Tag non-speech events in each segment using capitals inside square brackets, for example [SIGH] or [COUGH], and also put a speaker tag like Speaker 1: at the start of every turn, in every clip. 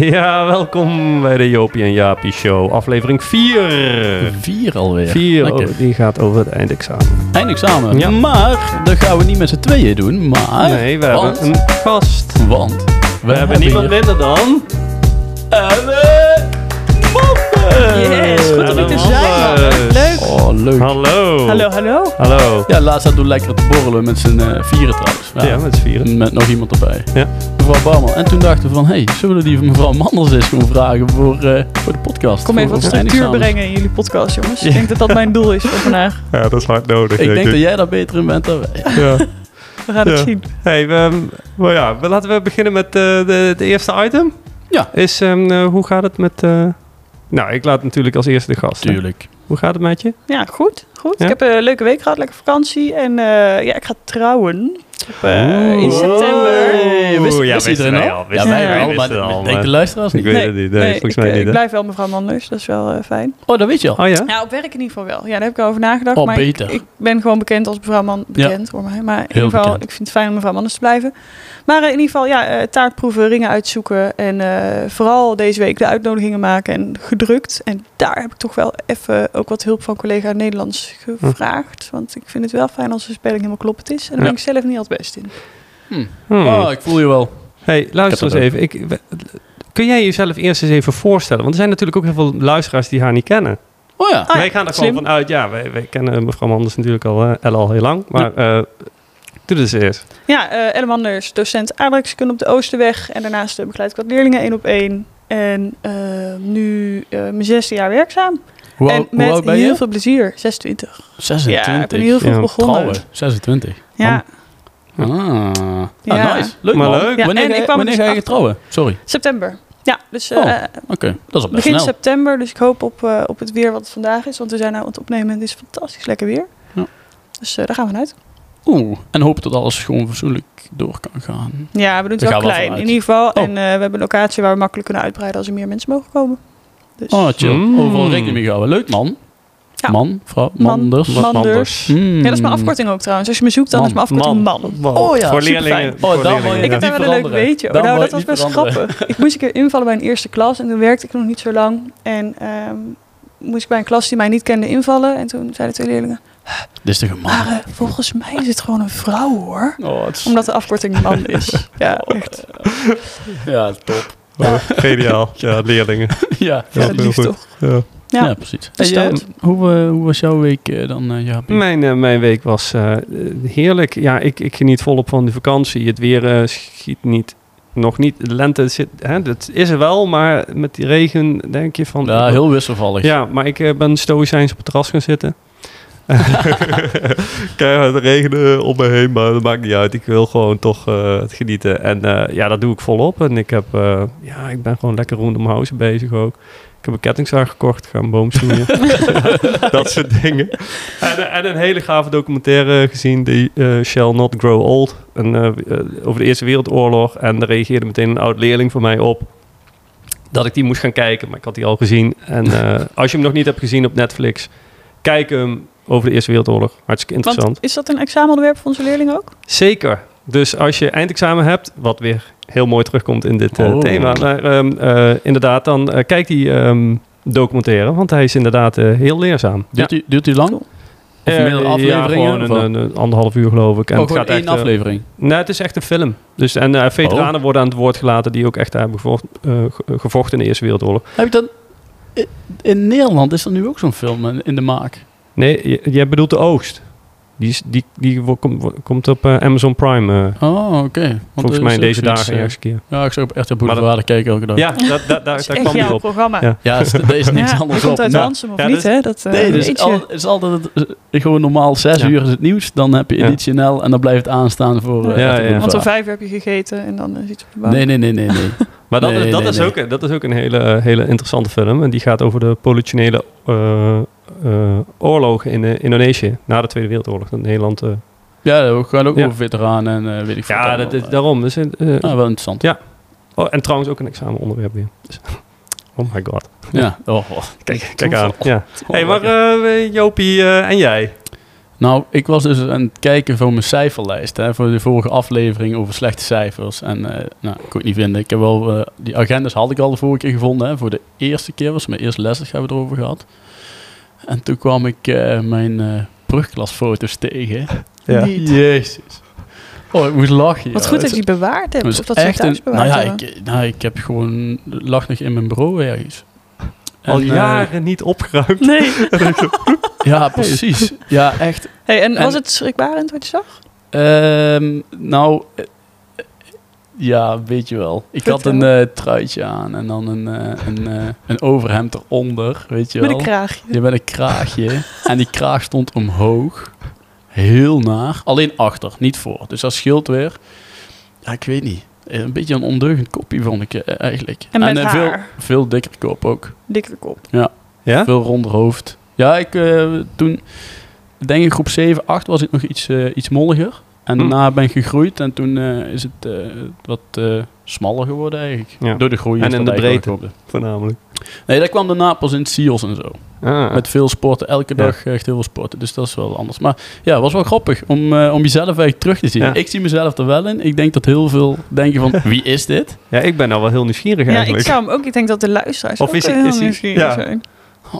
Speaker 1: Ja, welkom bij de Jopie en Jaapie Show, aflevering 4.
Speaker 2: Vier alweer.
Speaker 1: 4,
Speaker 2: Lekker.
Speaker 1: die gaat over het eindexamen.
Speaker 2: Eindexamen.
Speaker 1: Ja.
Speaker 2: Maar dat gaan we niet met z'n tweeën doen. Maar.
Speaker 1: Nee, we
Speaker 2: want,
Speaker 1: hebben een gast. We,
Speaker 2: Want. We,
Speaker 1: hebben niemand
Speaker 2: hier
Speaker 1: minder dan...
Speaker 2: Elle Moppen.
Speaker 3: Yes, goed om hier te zijn. man. Leuk.
Speaker 2: Oh, leuk.
Speaker 1: Hallo.
Speaker 3: Hallo, hallo.
Speaker 1: Hallo.
Speaker 2: Ja, laatst hadden we lekker te borrelen met z'n eh, vieren trouwens.
Speaker 1: Ja, met z'n vieren.
Speaker 2: Met nog iemand erbij.
Speaker 1: Ja.
Speaker 2: Mevrouw Bouwman. En toen dachten we van, hé, hey, zullen we die van mevrouw Manders eens gewoon vragen voor, eh, voor de podcast?
Speaker 3: Kom even
Speaker 2: Voor ons
Speaker 3: wat structuur
Speaker 2: eindexamen.
Speaker 3: brengen in jullie podcast, jongens.
Speaker 2: Ja.
Speaker 3: Ik denk dat dat mijn doel is voor vandaag.
Speaker 1: Ja, dat is hard nodig.
Speaker 2: Ik denk dat jij daar beter in bent dan wij.
Speaker 1: Ja.
Speaker 3: We gaan het
Speaker 1: Ja.
Speaker 3: zien.
Speaker 1: Hey, we, maar ja, we- laten we beginnen met eh, de, het eerste item.
Speaker 2: Ja.
Speaker 1: Is, ehm, eh, hoe gaat het met... eh, Nou, ik laat natuurlijk als eerste de gast. hè.
Speaker 2: Tuurlijk.
Speaker 1: Hoe gaat het met je?
Speaker 3: Ja, goed. goed.
Speaker 1: Ja?
Speaker 3: Ik heb een leuke week gehad, lekker vakantie. En eh, ja, ik ga trouwen. Op, eh, in
Speaker 1: Oeh.
Speaker 3: september.
Speaker 2: Hey, wist,
Speaker 1: Oeh, ja,
Speaker 2: wist
Speaker 1: wisten
Speaker 2: iedereen
Speaker 1: wij
Speaker 2: al?
Speaker 1: al,
Speaker 2: Ja,
Speaker 1: wisten
Speaker 2: wij eh.
Speaker 3: wij,
Speaker 2: wel, maar
Speaker 1: wisten al,
Speaker 2: ik
Speaker 1: maar-
Speaker 2: denk de luisteraars niet.
Speaker 1: Ik weet het niet. Nee, volgens
Speaker 3: ik,
Speaker 1: mij
Speaker 3: eh,
Speaker 1: niet.
Speaker 3: ik
Speaker 1: hè?
Speaker 3: blijf wel mevrouw Manders, dat is wel eh, fijn.
Speaker 2: Oh, dat weet je al.
Speaker 1: Oh ja?
Speaker 3: Ja, Nou, op werk in ieder geval wel. Ja, daar heb ik al over nagedacht.
Speaker 2: Oh,
Speaker 3: maar ik-
Speaker 2: beter.
Speaker 3: Ik, ben gewoon bekend als mevrouw Man. Bekend voor mij. Maar in ieder geval,
Speaker 2: bekend.
Speaker 3: ik vind het fijn om mevrouw Manders te blijven. Maar eh, in ieder geval, ja, eh, taartproeven, ringen uitzoeken. En eh, vooral deze week de uitnodigingen maken en gedrukt. En daar heb ik toch wel even ook wat hulp van collega Nederlands gevraagd.
Speaker 2: Hm.
Speaker 3: Want ik vind het wel fijn als de spelling helemaal kloppend is. En daar ben ik zelf niet altijd best in.
Speaker 1: Hmm.
Speaker 2: Oh, ik voel je wel.
Speaker 1: Hey, luister
Speaker 2: Ik
Speaker 1: eens
Speaker 2: heb
Speaker 1: even. Ik, we- kun jij jezelf eerst eens even voorstellen? Want er zijn natuurlijk ook heel veel luisteraars die haar niet kennen.
Speaker 2: Oh ja.
Speaker 3: Ah,
Speaker 1: wij gaan er
Speaker 3: slim.
Speaker 1: gewoon vanuit. Ja, wij, wij kennen mevrouw Manders natuurlijk al, eh, Elle al heel lang. Maar eh doe dus eerst.
Speaker 3: Ja, eh Elle Manders, docent aardrijkskunde op de Oosterweg. En daarnaast eh, begeleid ik wat leerlingen één op één. En eh, nu eh, mijn zesde jaar werkzaam.
Speaker 2: Hoe,
Speaker 3: en
Speaker 2: oud- hoe
Speaker 3: met
Speaker 2: oud ben
Speaker 3: heel
Speaker 2: je?
Speaker 3: veel plezier, 26. Ja, ik
Speaker 2: 26.
Speaker 3: ben heel vroeg
Speaker 1: Ja,
Speaker 3: begonnen.
Speaker 2: Trouwen, 26.
Speaker 3: Ja,
Speaker 2: Ah, Ah,
Speaker 3: Ja.
Speaker 2: nice. Leuk
Speaker 1: Maar
Speaker 2: man.
Speaker 1: leuk.
Speaker 3: Ja,
Speaker 2: wanneer
Speaker 3: en
Speaker 2: ga,
Speaker 3: ik kwam
Speaker 2: wanneer
Speaker 3: er
Speaker 2: ga
Speaker 3: dus
Speaker 2: je
Speaker 3: achter.
Speaker 2: trouwen? Sorry.
Speaker 3: september. Ja, dus eh,
Speaker 2: Oh, Oké, dat is al best
Speaker 3: begin
Speaker 2: snel.
Speaker 3: september. Dus ik hoop op, eh, op het weer wat het vandaag is. Want we zijn nou aan het opnemen en het is fantastisch lekker weer.
Speaker 2: Ja.
Speaker 3: Dus eh, daar gaan we vanuit.
Speaker 2: Oeh, en hoop dat alles gewoon fatsoenlijk door kan gaan.
Speaker 3: Ja, we doen het
Speaker 2: Daar
Speaker 3: wel
Speaker 2: gaan we
Speaker 3: klein in
Speaker 2: vanuit.
Speaker 3: ieder geval. En eh, we hebben een locatie waar we makkelijk kunnen uitbreiden als er meer mensen mogen komen. Dus
Speaker 2: Oh, chill.
Speaker 1: Mm.
Speaker 2: Overal rekening mee houden. Leuk man.
Speaker 3: Ja.
Speaker 2: Man, vrouw,
Speaker 3: Man.
Speaker 2: manders.
Speaker 3: Manders.
Speaker 2: Mm.
Speaker 3: Ja, dat is mijn afkorting ook trouwens. Als je me zoekt, dan
Speaker 2: Man.
Speaker 3: is mijn afkorting man.
Speaker 2: Oh ja,
Speaker 1: voor
Speaker 3: superfijn.
Speaker 1: leerlingen.
Speaker 2: Oh,
Speaker 1: voor
Speaker 2: daar
Speaker 1: leerlingen,
Speaker 2: word je
Speaker 3: Ik
Speaker 1: ja.
Speaker 3: heb daar wel een leuk
Speaker 2: veranderen.
Speaker 3: weetje
Speaker 2: Dan
Speaker 3: over. Nou,
Speaker 2: wou
Speaker 3: dat
Speaker 2: je
Speaker 3: was
Speaker 2: het
Speaker 3: best
Speaker 2: niet veranderen.
Speaker 3: grappig. Ik moest een keer invallen bij een eerste klas en toen werkte ik nog niet zo lang. En ehm, moest ik bij een klas die mij niet kende invallen. En toen zeiden twee leerlingen,
Speaker 2: Dit is toch een man?
Speaker 3: maar eh, volgens mij is het gewoon een vrouw hoor.
Speaker 2: Oh, het is-
Speaker 3: Omdat de afkorting
Speaker 1: [LAUGHS]
Speaker 3: man is. Ja, echt.
Speaker 2: Ja, top.
Speaker 1: Oh, Geniaal. Ja, [LAUGHS] leerlingen.
Speaker 2: [LAUGHS] ja.
Speaker 3: Ja,
Speaker 1: heel
Speaker 3: lief
Speaker 1: goed.
Speaker 3: toch.
Speaker 1: Ja.
Speaker 3: Ja.
Speaker 2: Ja, precies.
Speaker 3: Dus
Speaker 2: Hey, eh,
Speaker 3: dat.
Speaker 2: hoe, eh, hoe was jouw week eh, dan, eh, Jaapie?
Speaker 1: Mijn, eh, mijn week was eh, eh, heerlijk. Ja, ik, ik geniet volop van de vakantie. Het weer eh, schiet niet. Nog niet. De lente zit. Hè, dat is er wel, maar met die regen denk je van.
Speaker 2: Ja, heel wisselvallig.
Speaker 1: Ja, maar ik eh, ben stoïcijns op het terras gaan zitten. [LAUGHS] Keihard regenen om me heen, maar dat maakt niet uit. Ik wil gewoon toch eh, het genieten. En eh, ja, dat doe ik volop. En ik, heb, eh, ja, ik ben gewoon lekker rondom huizen bezig ook. Ik heb een kettingzaag gekocht, ga een boom snoeien. [LAUGHS] dat soort dingen. En, eh, en een hele gave documentaire gezien, die eh, Shall Not Grow Old. En, eh, eh, over de Eerste Wereldoorlog. En daar reageerde meteen een oud-leerling van mij op dat ik die moest gaan kijken, maar ik had die al gezien. En eh, als je hem nog niet hebt gezien op Netflix, kijk hem over de Eerste Wereldoorlog. Hartstikke interessant.
Speaker 3: Want is dat een examenonderwerp voor onze leerlingen ook?
Speaker 1: Zeker. Dus als je eindexamen hebt, wat weer heel mooi terugkomt in dit eh,
Speaker 2: Oh.
Speaker 1: thema, maar ehm, eh, inderdaad, dan eh, kijk die ehm, documentaire, want hij is inderdaad eh, heel leerzaam.
Speaker 2: Duurt, die, duurt die lang? of
Speaker 1: Eh,
Speaker 2: meerdere
Speaker 1: ja,
Speaker 2: afleveringen,
Speaker 1: gewoon
Speaker 2: of wat?
Speaker 1: een, een anderhalf uur geloof ik. En
Speaker 2: oh, gewoon één
Speaker 1: eh,
Speaker 2: aflevering.
Speaker 1: Nee, het is echt een film. Dus, en eh, veteranen worden aan het woord gelaten die ook echt hebben gevochten, eh, ge- gevochten in de Eerste Wereldoorlog.
Speaker 2: Heb ik dan... in- In Nederland is er nu ook zo'n film eh, in- in de maak.
Speaker 1: Nee, j- jij bedoelt de oogst. Die, is, die, die wo- kom- wo- komt op eh, Amazon Prime, eh,
Speaker 2: Oh, oké. Want er
Speaker 1: volgens
Speaker 2: is
Speaker 1: mij in
Speaker 2: ook
Speaker 1: deze
Speaker 2: zoiets,
Speaker 1: dagen
Speaker 2: eh,
Speaker 1: eerst keer.
Speaker 2: ja, ik zou op RTL
Speaker 1: Maar
Speaker 2: Boulevard kijken elke dag.
Speaker 1: Ja, da, da,
Speaker 2: [LAUGHS]
Speaker 1: da,
Speaker 3: dat is
Speaker 1: daar
Speaker 3: echt
Speaker 1: kwam die
Speaker 3: jouw
Speaker 1: op.
Speaker 3: programma.
Speaker 1: Ja.
Speaker 2: ja is- er is niks
Speaker 3: [LAUGHS] Ja,
Speaker 2: anders
Speaker 3: je komt
Speaker 2: op.
Speaker 3: uit
Speaker 1: Nou,
Speaker 3: Hansum of
Speaker 1: ja,
Speaker 3: niet,
Speaker 1: dus-
Speaker 3: hè? Dat, eh,
Speaker 2: Nee, dus
Speaker 3: weet je.
Speaker 2: al, het is altijd het- gewoon normaal zes
Speaker 1: Ja.
Speaker 2: uur is het nieuws. Dan heb je
Speaker 1: Ja.
Speaker 2: editie NL en dan blijft het aanstaan voor... eh,
Speaker 1: Ja,
Speaker 2: RTL
Speaker 1: ja.
Speaker 3: Want om
Speaker 2: Boulevard.
Speaker 3: vijf heb je gegeten en dan eh, zit je op de bank.
Speaker 2: Nee, nee, nee, nee. nee.
Speaker 1: Maar dat,
Speaker 2: Nee,
Speaker 1: is, dat,
Speaker 2: nee,
Speaker 1: is
Speaker 2: nee.
Speaker 1: Ook, een- dat is ook een hele, eh, hele interessante film. En die gaat over de politionele eh, eh, oorlogen in eh, Indonesië. Na de Tweede Wereldoorlog. Dat Nederland... eh,
Speaker 2: ja, we gaan ook
Speaker 1: Ja.
Speaker 2: over veteranen en eh, weet ik veel.
Speaker 1: ja,
Speaker 2: wat
Speaker 1: dat is
Speaker 2: allemaal.
Speaker 1: daarom. Dus, eh, eh,
Speaker 2: Ah, wel interessant.
Speaker 1: Ja. oh, en trouwens ook een examenonderwerp weer. Dus, [LAUGHS] oh my god.
Speaker 2: Ja. Oh, oh.
Speaker 1: Kijk, kijk aan. Ja. Hey, maar eh, Jopie eh, en jij?
Speaker 2: Nou, ik was dus aan het kijken voor mijn cijferlijst. Hè, voor de vorige aflevering over slechte cijfers. En eh nou, ik kon het niet vinden. Ik heb wel, eh, die agendas had ik al de vorige keer gevonden. Hè, voor de eerste keer was mijn eerste lesdag hebben we het erover gehad. En toen kwam ik eh, mijn eh brugklasfoto's tegen.
Speaker 1: [LAUGHS] Ja.
Speaker 3: Niet.
Speaker 2: Jezus. Oh, ik moest lachen.
Speaker 3: Wat
Speaker 2: ja.
Speaker 3: goed dat
Speaker 2: Het-
Speaker 3: je die bewaard hebt.
Speaker 2: het was
Speaker 3: Of dat ze die
Speaker 2: een-
Speaker 3: thuis bewaard
Speaker 2: nou ja,
Speaker 3: hebben.
Speaker 2: ik, nou, ik heb gewoon... het lag nog in mijn bureau ergens.
Speaker 1: Al
Speaker 2: En, eh,
Speaker 1: jaren niet opgeruimd.
Speaker 3: Nee.
Speaker 1: [LAUGHS]
Speaker 3: [LAUGHS]
Speaker 2: ja, precies. Ja, echt.
Speaker 3: Hey, en,
Speaker 2: En-
Speaker 3: was het schrikbarend wat je zag?
Speaker 2: Ehm, nou, eh, eh, ja, weet je wel. Ik had een eh, truitje aan en dan een, eh, een, eh, een overhemd eronder, weet je
Speaker 3: Met een
Speaker 2: wel.
Speaker 3: kraagje.
Speaker 2: Je bent een kraagje en die kraag stond omhoog. Heel naar. Alleen achter, niet voor. Dus dat scheelt weer. Ja, ik weet niet. Eh, Een beetje een ondeugend kopje vond ik eh, eigenlijk.
Speaker 3: En met
Speaker 2: eh,
Speaker 3: haar.
Speaker 2: Veel, veel dikker kop ook.
Speaker 3: Dikke kop.
Speaker 1: Ja?
Speaker 2: [LAUGHS] Veel ronder hoofd. Ja, ik eh, toen, ik denk in groep 7, 8 was ik nog iets, eh, iets molliger. En
Speaker 1: Hm.
Speaker 2: daarna ben ik gegroeid en toen eh, is het eh, wat eh, smaller geworden eigenlijk.
Speaker 1: Ja.
Speaker 2: Door de groei.
Speaker 1: En
Speaker 2: is
Speaker 1: in
Speaker 2: dat
Speaker 1: de
Speaker 2: eigenlijk
Speaker 1: breedte.
Speaker 2: wel gekomen.
Speaker 1: Voornamelijk.
Speaker 2: Nee, dat kwam daarna pas in het SEALS en zo.
Speaker 1: Ah.
Speaker 2: Met veel sporten, elke
Speaker 1: Ja.
Speaker 2: dag echt heel veel sporten. Dus dat is wel anders. Maar ja, het was wel grappig om, eh, om jezelf eigenlijk terug te zien.
Speaker 1: Ja.
Speaker 2: Ik zie mezelf er wel in. Ik denk dat heel veel denken
Speaker 1: [LAUGHS]
Speaker 2: van, wie is dit?
Speaker 1: Ja, ik ben nou wel heel nieuwsgierig
Speaker 3: Ja, ik
Speaker 1: eigenlijk.
Speaker 3: zou hem ook. Ik denk dat de luisteraars
Speaker 1: Of
Speaker 3: ook
Speaker 1: is-
Speaker 3: heel
Speaker 1: is hij-
Speaker 3: nieuwsgierig
Speaker 1: ja. [LAUGHS]
Speaker 3: zijn.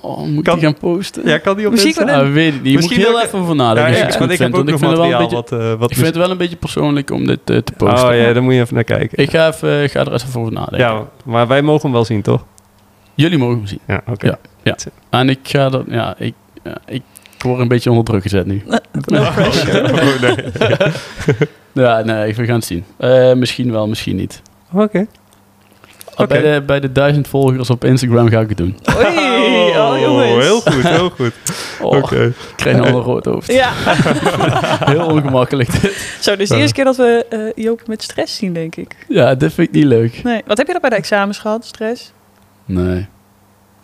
Speaker 2: Oh, moet
Speaker 1: Kan-
Speaker 2: ik die gaan posten?
Speaker 1: [LAUGHS] Ja, kan die op
Speaker 3: Misschien
Speaker 1: Insta?
Speaker 3: wel
Speaker 2: Ah, weet ik niet. Je
Speaker 1: Misschien
Speaker 2: moet er heel
Speaker 1: ook-
Speaker 2: even van
Speaker 1: Ja,
Speaker 2: nadenken.
Speaker 1: ik,
Speaker 2: als je
Speaker 1: want
Speaker 2: het goed
Speaker 1: ik heb
Speaker 2: vindt,
Speaker 1: ook nog
Speaker 2: want ik vind het wel
Speaker 1: materiaal
Speaker 2: een beetje,
Speaker 1: wat, eh, wat...
Speaker 2: ik vind het wel een beetje persoonlijk om dit eh, te posten.
Speaker 1: Oh ja, daar moet je even naar kijken.
Speaker 2: Ik ga, even, eh, ik ga er eens even over nadenken.
Speaker 1: Ja, maar wij mogen hem wel zien, toch?
Speaker 2: Jullie mogen hem zien.
Speaker 1: Ja, oké.
Speaker 2: En ik ga dat... Ja, ik, ja, ik word een beetje onder druk gezet
Speaker 3: [LAUGHS]
Speaker 2: nu.
Speaker 3: No pressure.
Speaker 1: Oh, nee.
Speaker 2: [LAUGHS] Ja, nee, we gaan het zien. Eh, misschien wel, misschien niet.
Speaker 1: [LAUGHS]
Speaker 2: Ah,
Speaker 1: Oké.
Speaker 2: [LAUGHS]
Speaker 1: Oké.
Speaker 2: Bij, de, bij de duizend volgers op Instagram ga ik het doen.
Speaker 3: Oei, al jongens.
Speaker 1: Oh, heel goed, heel goed.
Speaker 2: [LAUGHS] Oh,
Speaker 1: Oké.
Speaker 2: Ik krijg al een rood hoofd.
Speaker 1: [LAUGHS]
Speaker 3: Ja,
Speaker 2: [LAUGHS] Heel ongemakkelijk dit.
Speaker 3: zo, dus de eerste keer dat we eh, Joop met stress zien, denk ik.
Speaker 2: Ja, dit vind ik niet leuk.
Speaker 3: Nee. Wat heb je dat bij de examens gehad, stress?
Speaker 2: Nee.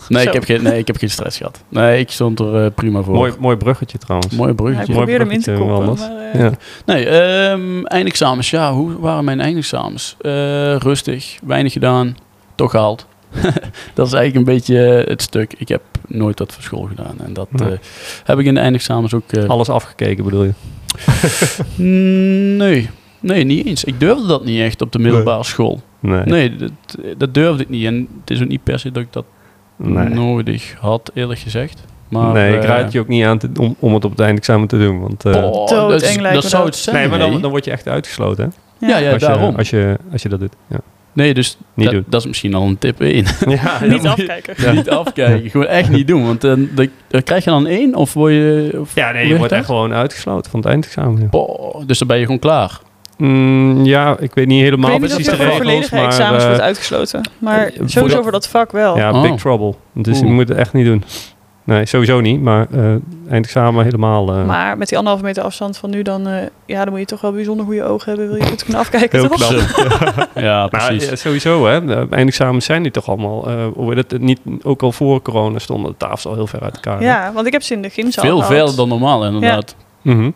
Speaker 2: Nee
Speaker 3: Zo.
Speaker 2: ik, heb geen, nee, ik heb geen stress gehad. Nee, ik stond er eh, prima voor.
Speaker 1: Mooi, mooi bruggetje trouwens.
Speaker 2: Mooi
Speaker 3: Hij
Speaker 2: bruggetje.
Speaker 1: Mooi
Speaker 3: probeerde hem in te
Speaker 1: bruggetje,
Speaker 3: koppen,
Speaker 1: wel
Speaker 3: maar eh,
Speaker 1: Ja.
Speaker 2: Nee, ehm, eindexamens. Ja, hoe waren mijn eindexamens? Eh, rustig, weinig gedaan, toch gehaald. [LAUGHS] dat is eigenlijk een beetje eh, het stuk. Ik heb nooit wat voor school gedaan. En dat
Speaker 1: Nee.
Speaker 2: eh, heb ik in de eindexamens ook... eh,
Speaker 1: Alles afgekeken bedoel je?
Speaker 2: nee, nee, niet eens. Ik durfde dat niet echt op de middelbare school.
Speaker 1: Nee.
Speaker 2: Nee, dat, dat durfde ik niet. En het is ook niet per se dat ik dat
Speaker 1: Nee,
Speaker 2: nodig had, eerlijk gezegd. Maar,
Speaker 1: nee ik
Speaker 2: eh,
Speaker 1: raad je ook niet aan te- om, om het op het eindexamen te doen. Want, eh,
Speaker 2: boah,
Speaker 3: Doodeng
Speaker 2: Oh, dat, is-
Speaker 3: lijkt me
Speaker 2: dat zou
Speaker 3: dat.
Speaker 2: het zijn.
Speaker 1: nee, maar dan,
Speaker 2: nee.
Speaker 1: dan word je echt uitgesloten. Hè?
Speaker 2: Ja, ja,
Speaker 1: als, je,
Speaker 2: daarom.
Speaker 1: Als, je, als je dat doet. Ja,
Speaker 2: Nee, dus
Speaker 1: Niet
Speaker 2: dat- [LAUGHS]
Speaker 1: doen.
Speaker 2: dat is misschien al een tip 1.
Speaker 1: ja,
Speaker 3: Niet
Speaker 2: Ja.
Speaker 3: afkijken.
Speaker 1: Ja.
Speaker 2: Niet afkijken, gewoon echt niet doen. Want dan dan- dan krijg je dan één of word je... Of,
Speaker 1: ja nee,
Speaker 2: Hoe
Speaker 1: je
Speaker 2: heet
Speaker 1: wordt
Speaker 2: dat?
Speaker 1: echt gewoon uitgesloten van het eindexamen. Ja,
Speaker 2: Boah, dus dan ben je gewoon klaar.
Speaker 1: Mm, ja ik weet niet
Speaker 3: Ik
Speaker 1: helemaal
Speaker 3: weet niet of
Speaker 1: precies de
Speaker 3: je voor
Speaker 1: regels,
Speaker 3: volledige
Speaker 1: maar...
Speaker 3: examens
Speaker 1: eh,
Speaker 3: wordt uitgesloten. Maar
Speaker 1: voor
Speaker 3: sowieso
Speaker 1: dat-
Speaker 3: voor dat vak wel.
Speaker 1: Ja,
Speaker 2: Oh.
Speaker 1: big trouble. Dus je
Speaker 2: Oeh.
Speaker 1: moet het echt niet doen. Nee, sowieso niet. Maar eh, eindexamen helemaal... eh,
Speaker 3: Maar met die anderhalve meter afstand van nu, dan, eh, ja, dan moet je toch wel bijzonder goede ogen hebben. Wil je goed kunnen afkijken,
Speaker 1: heel
Speaker 3: toch?
Speaker 1: knap.
Speaker 2: [LAUGHS] Ja,
Speaker 1: Maar
Speaker 2: precies.
Speaker 1: eh, sowieso, hè. De eindexamens zijn nu toch allemaal... eh, hoe heet het, niet, ook al voor corona stonden de tafels al heel ver uit elkaar. hè?
Speaker 3: Ja, want ik heb ze in de gymzaal
Speaker 2: Veel
Speaker 3: gehad.
Speaker 2: verder dan normaal, inderdaad.
Speaker 1: Mhm.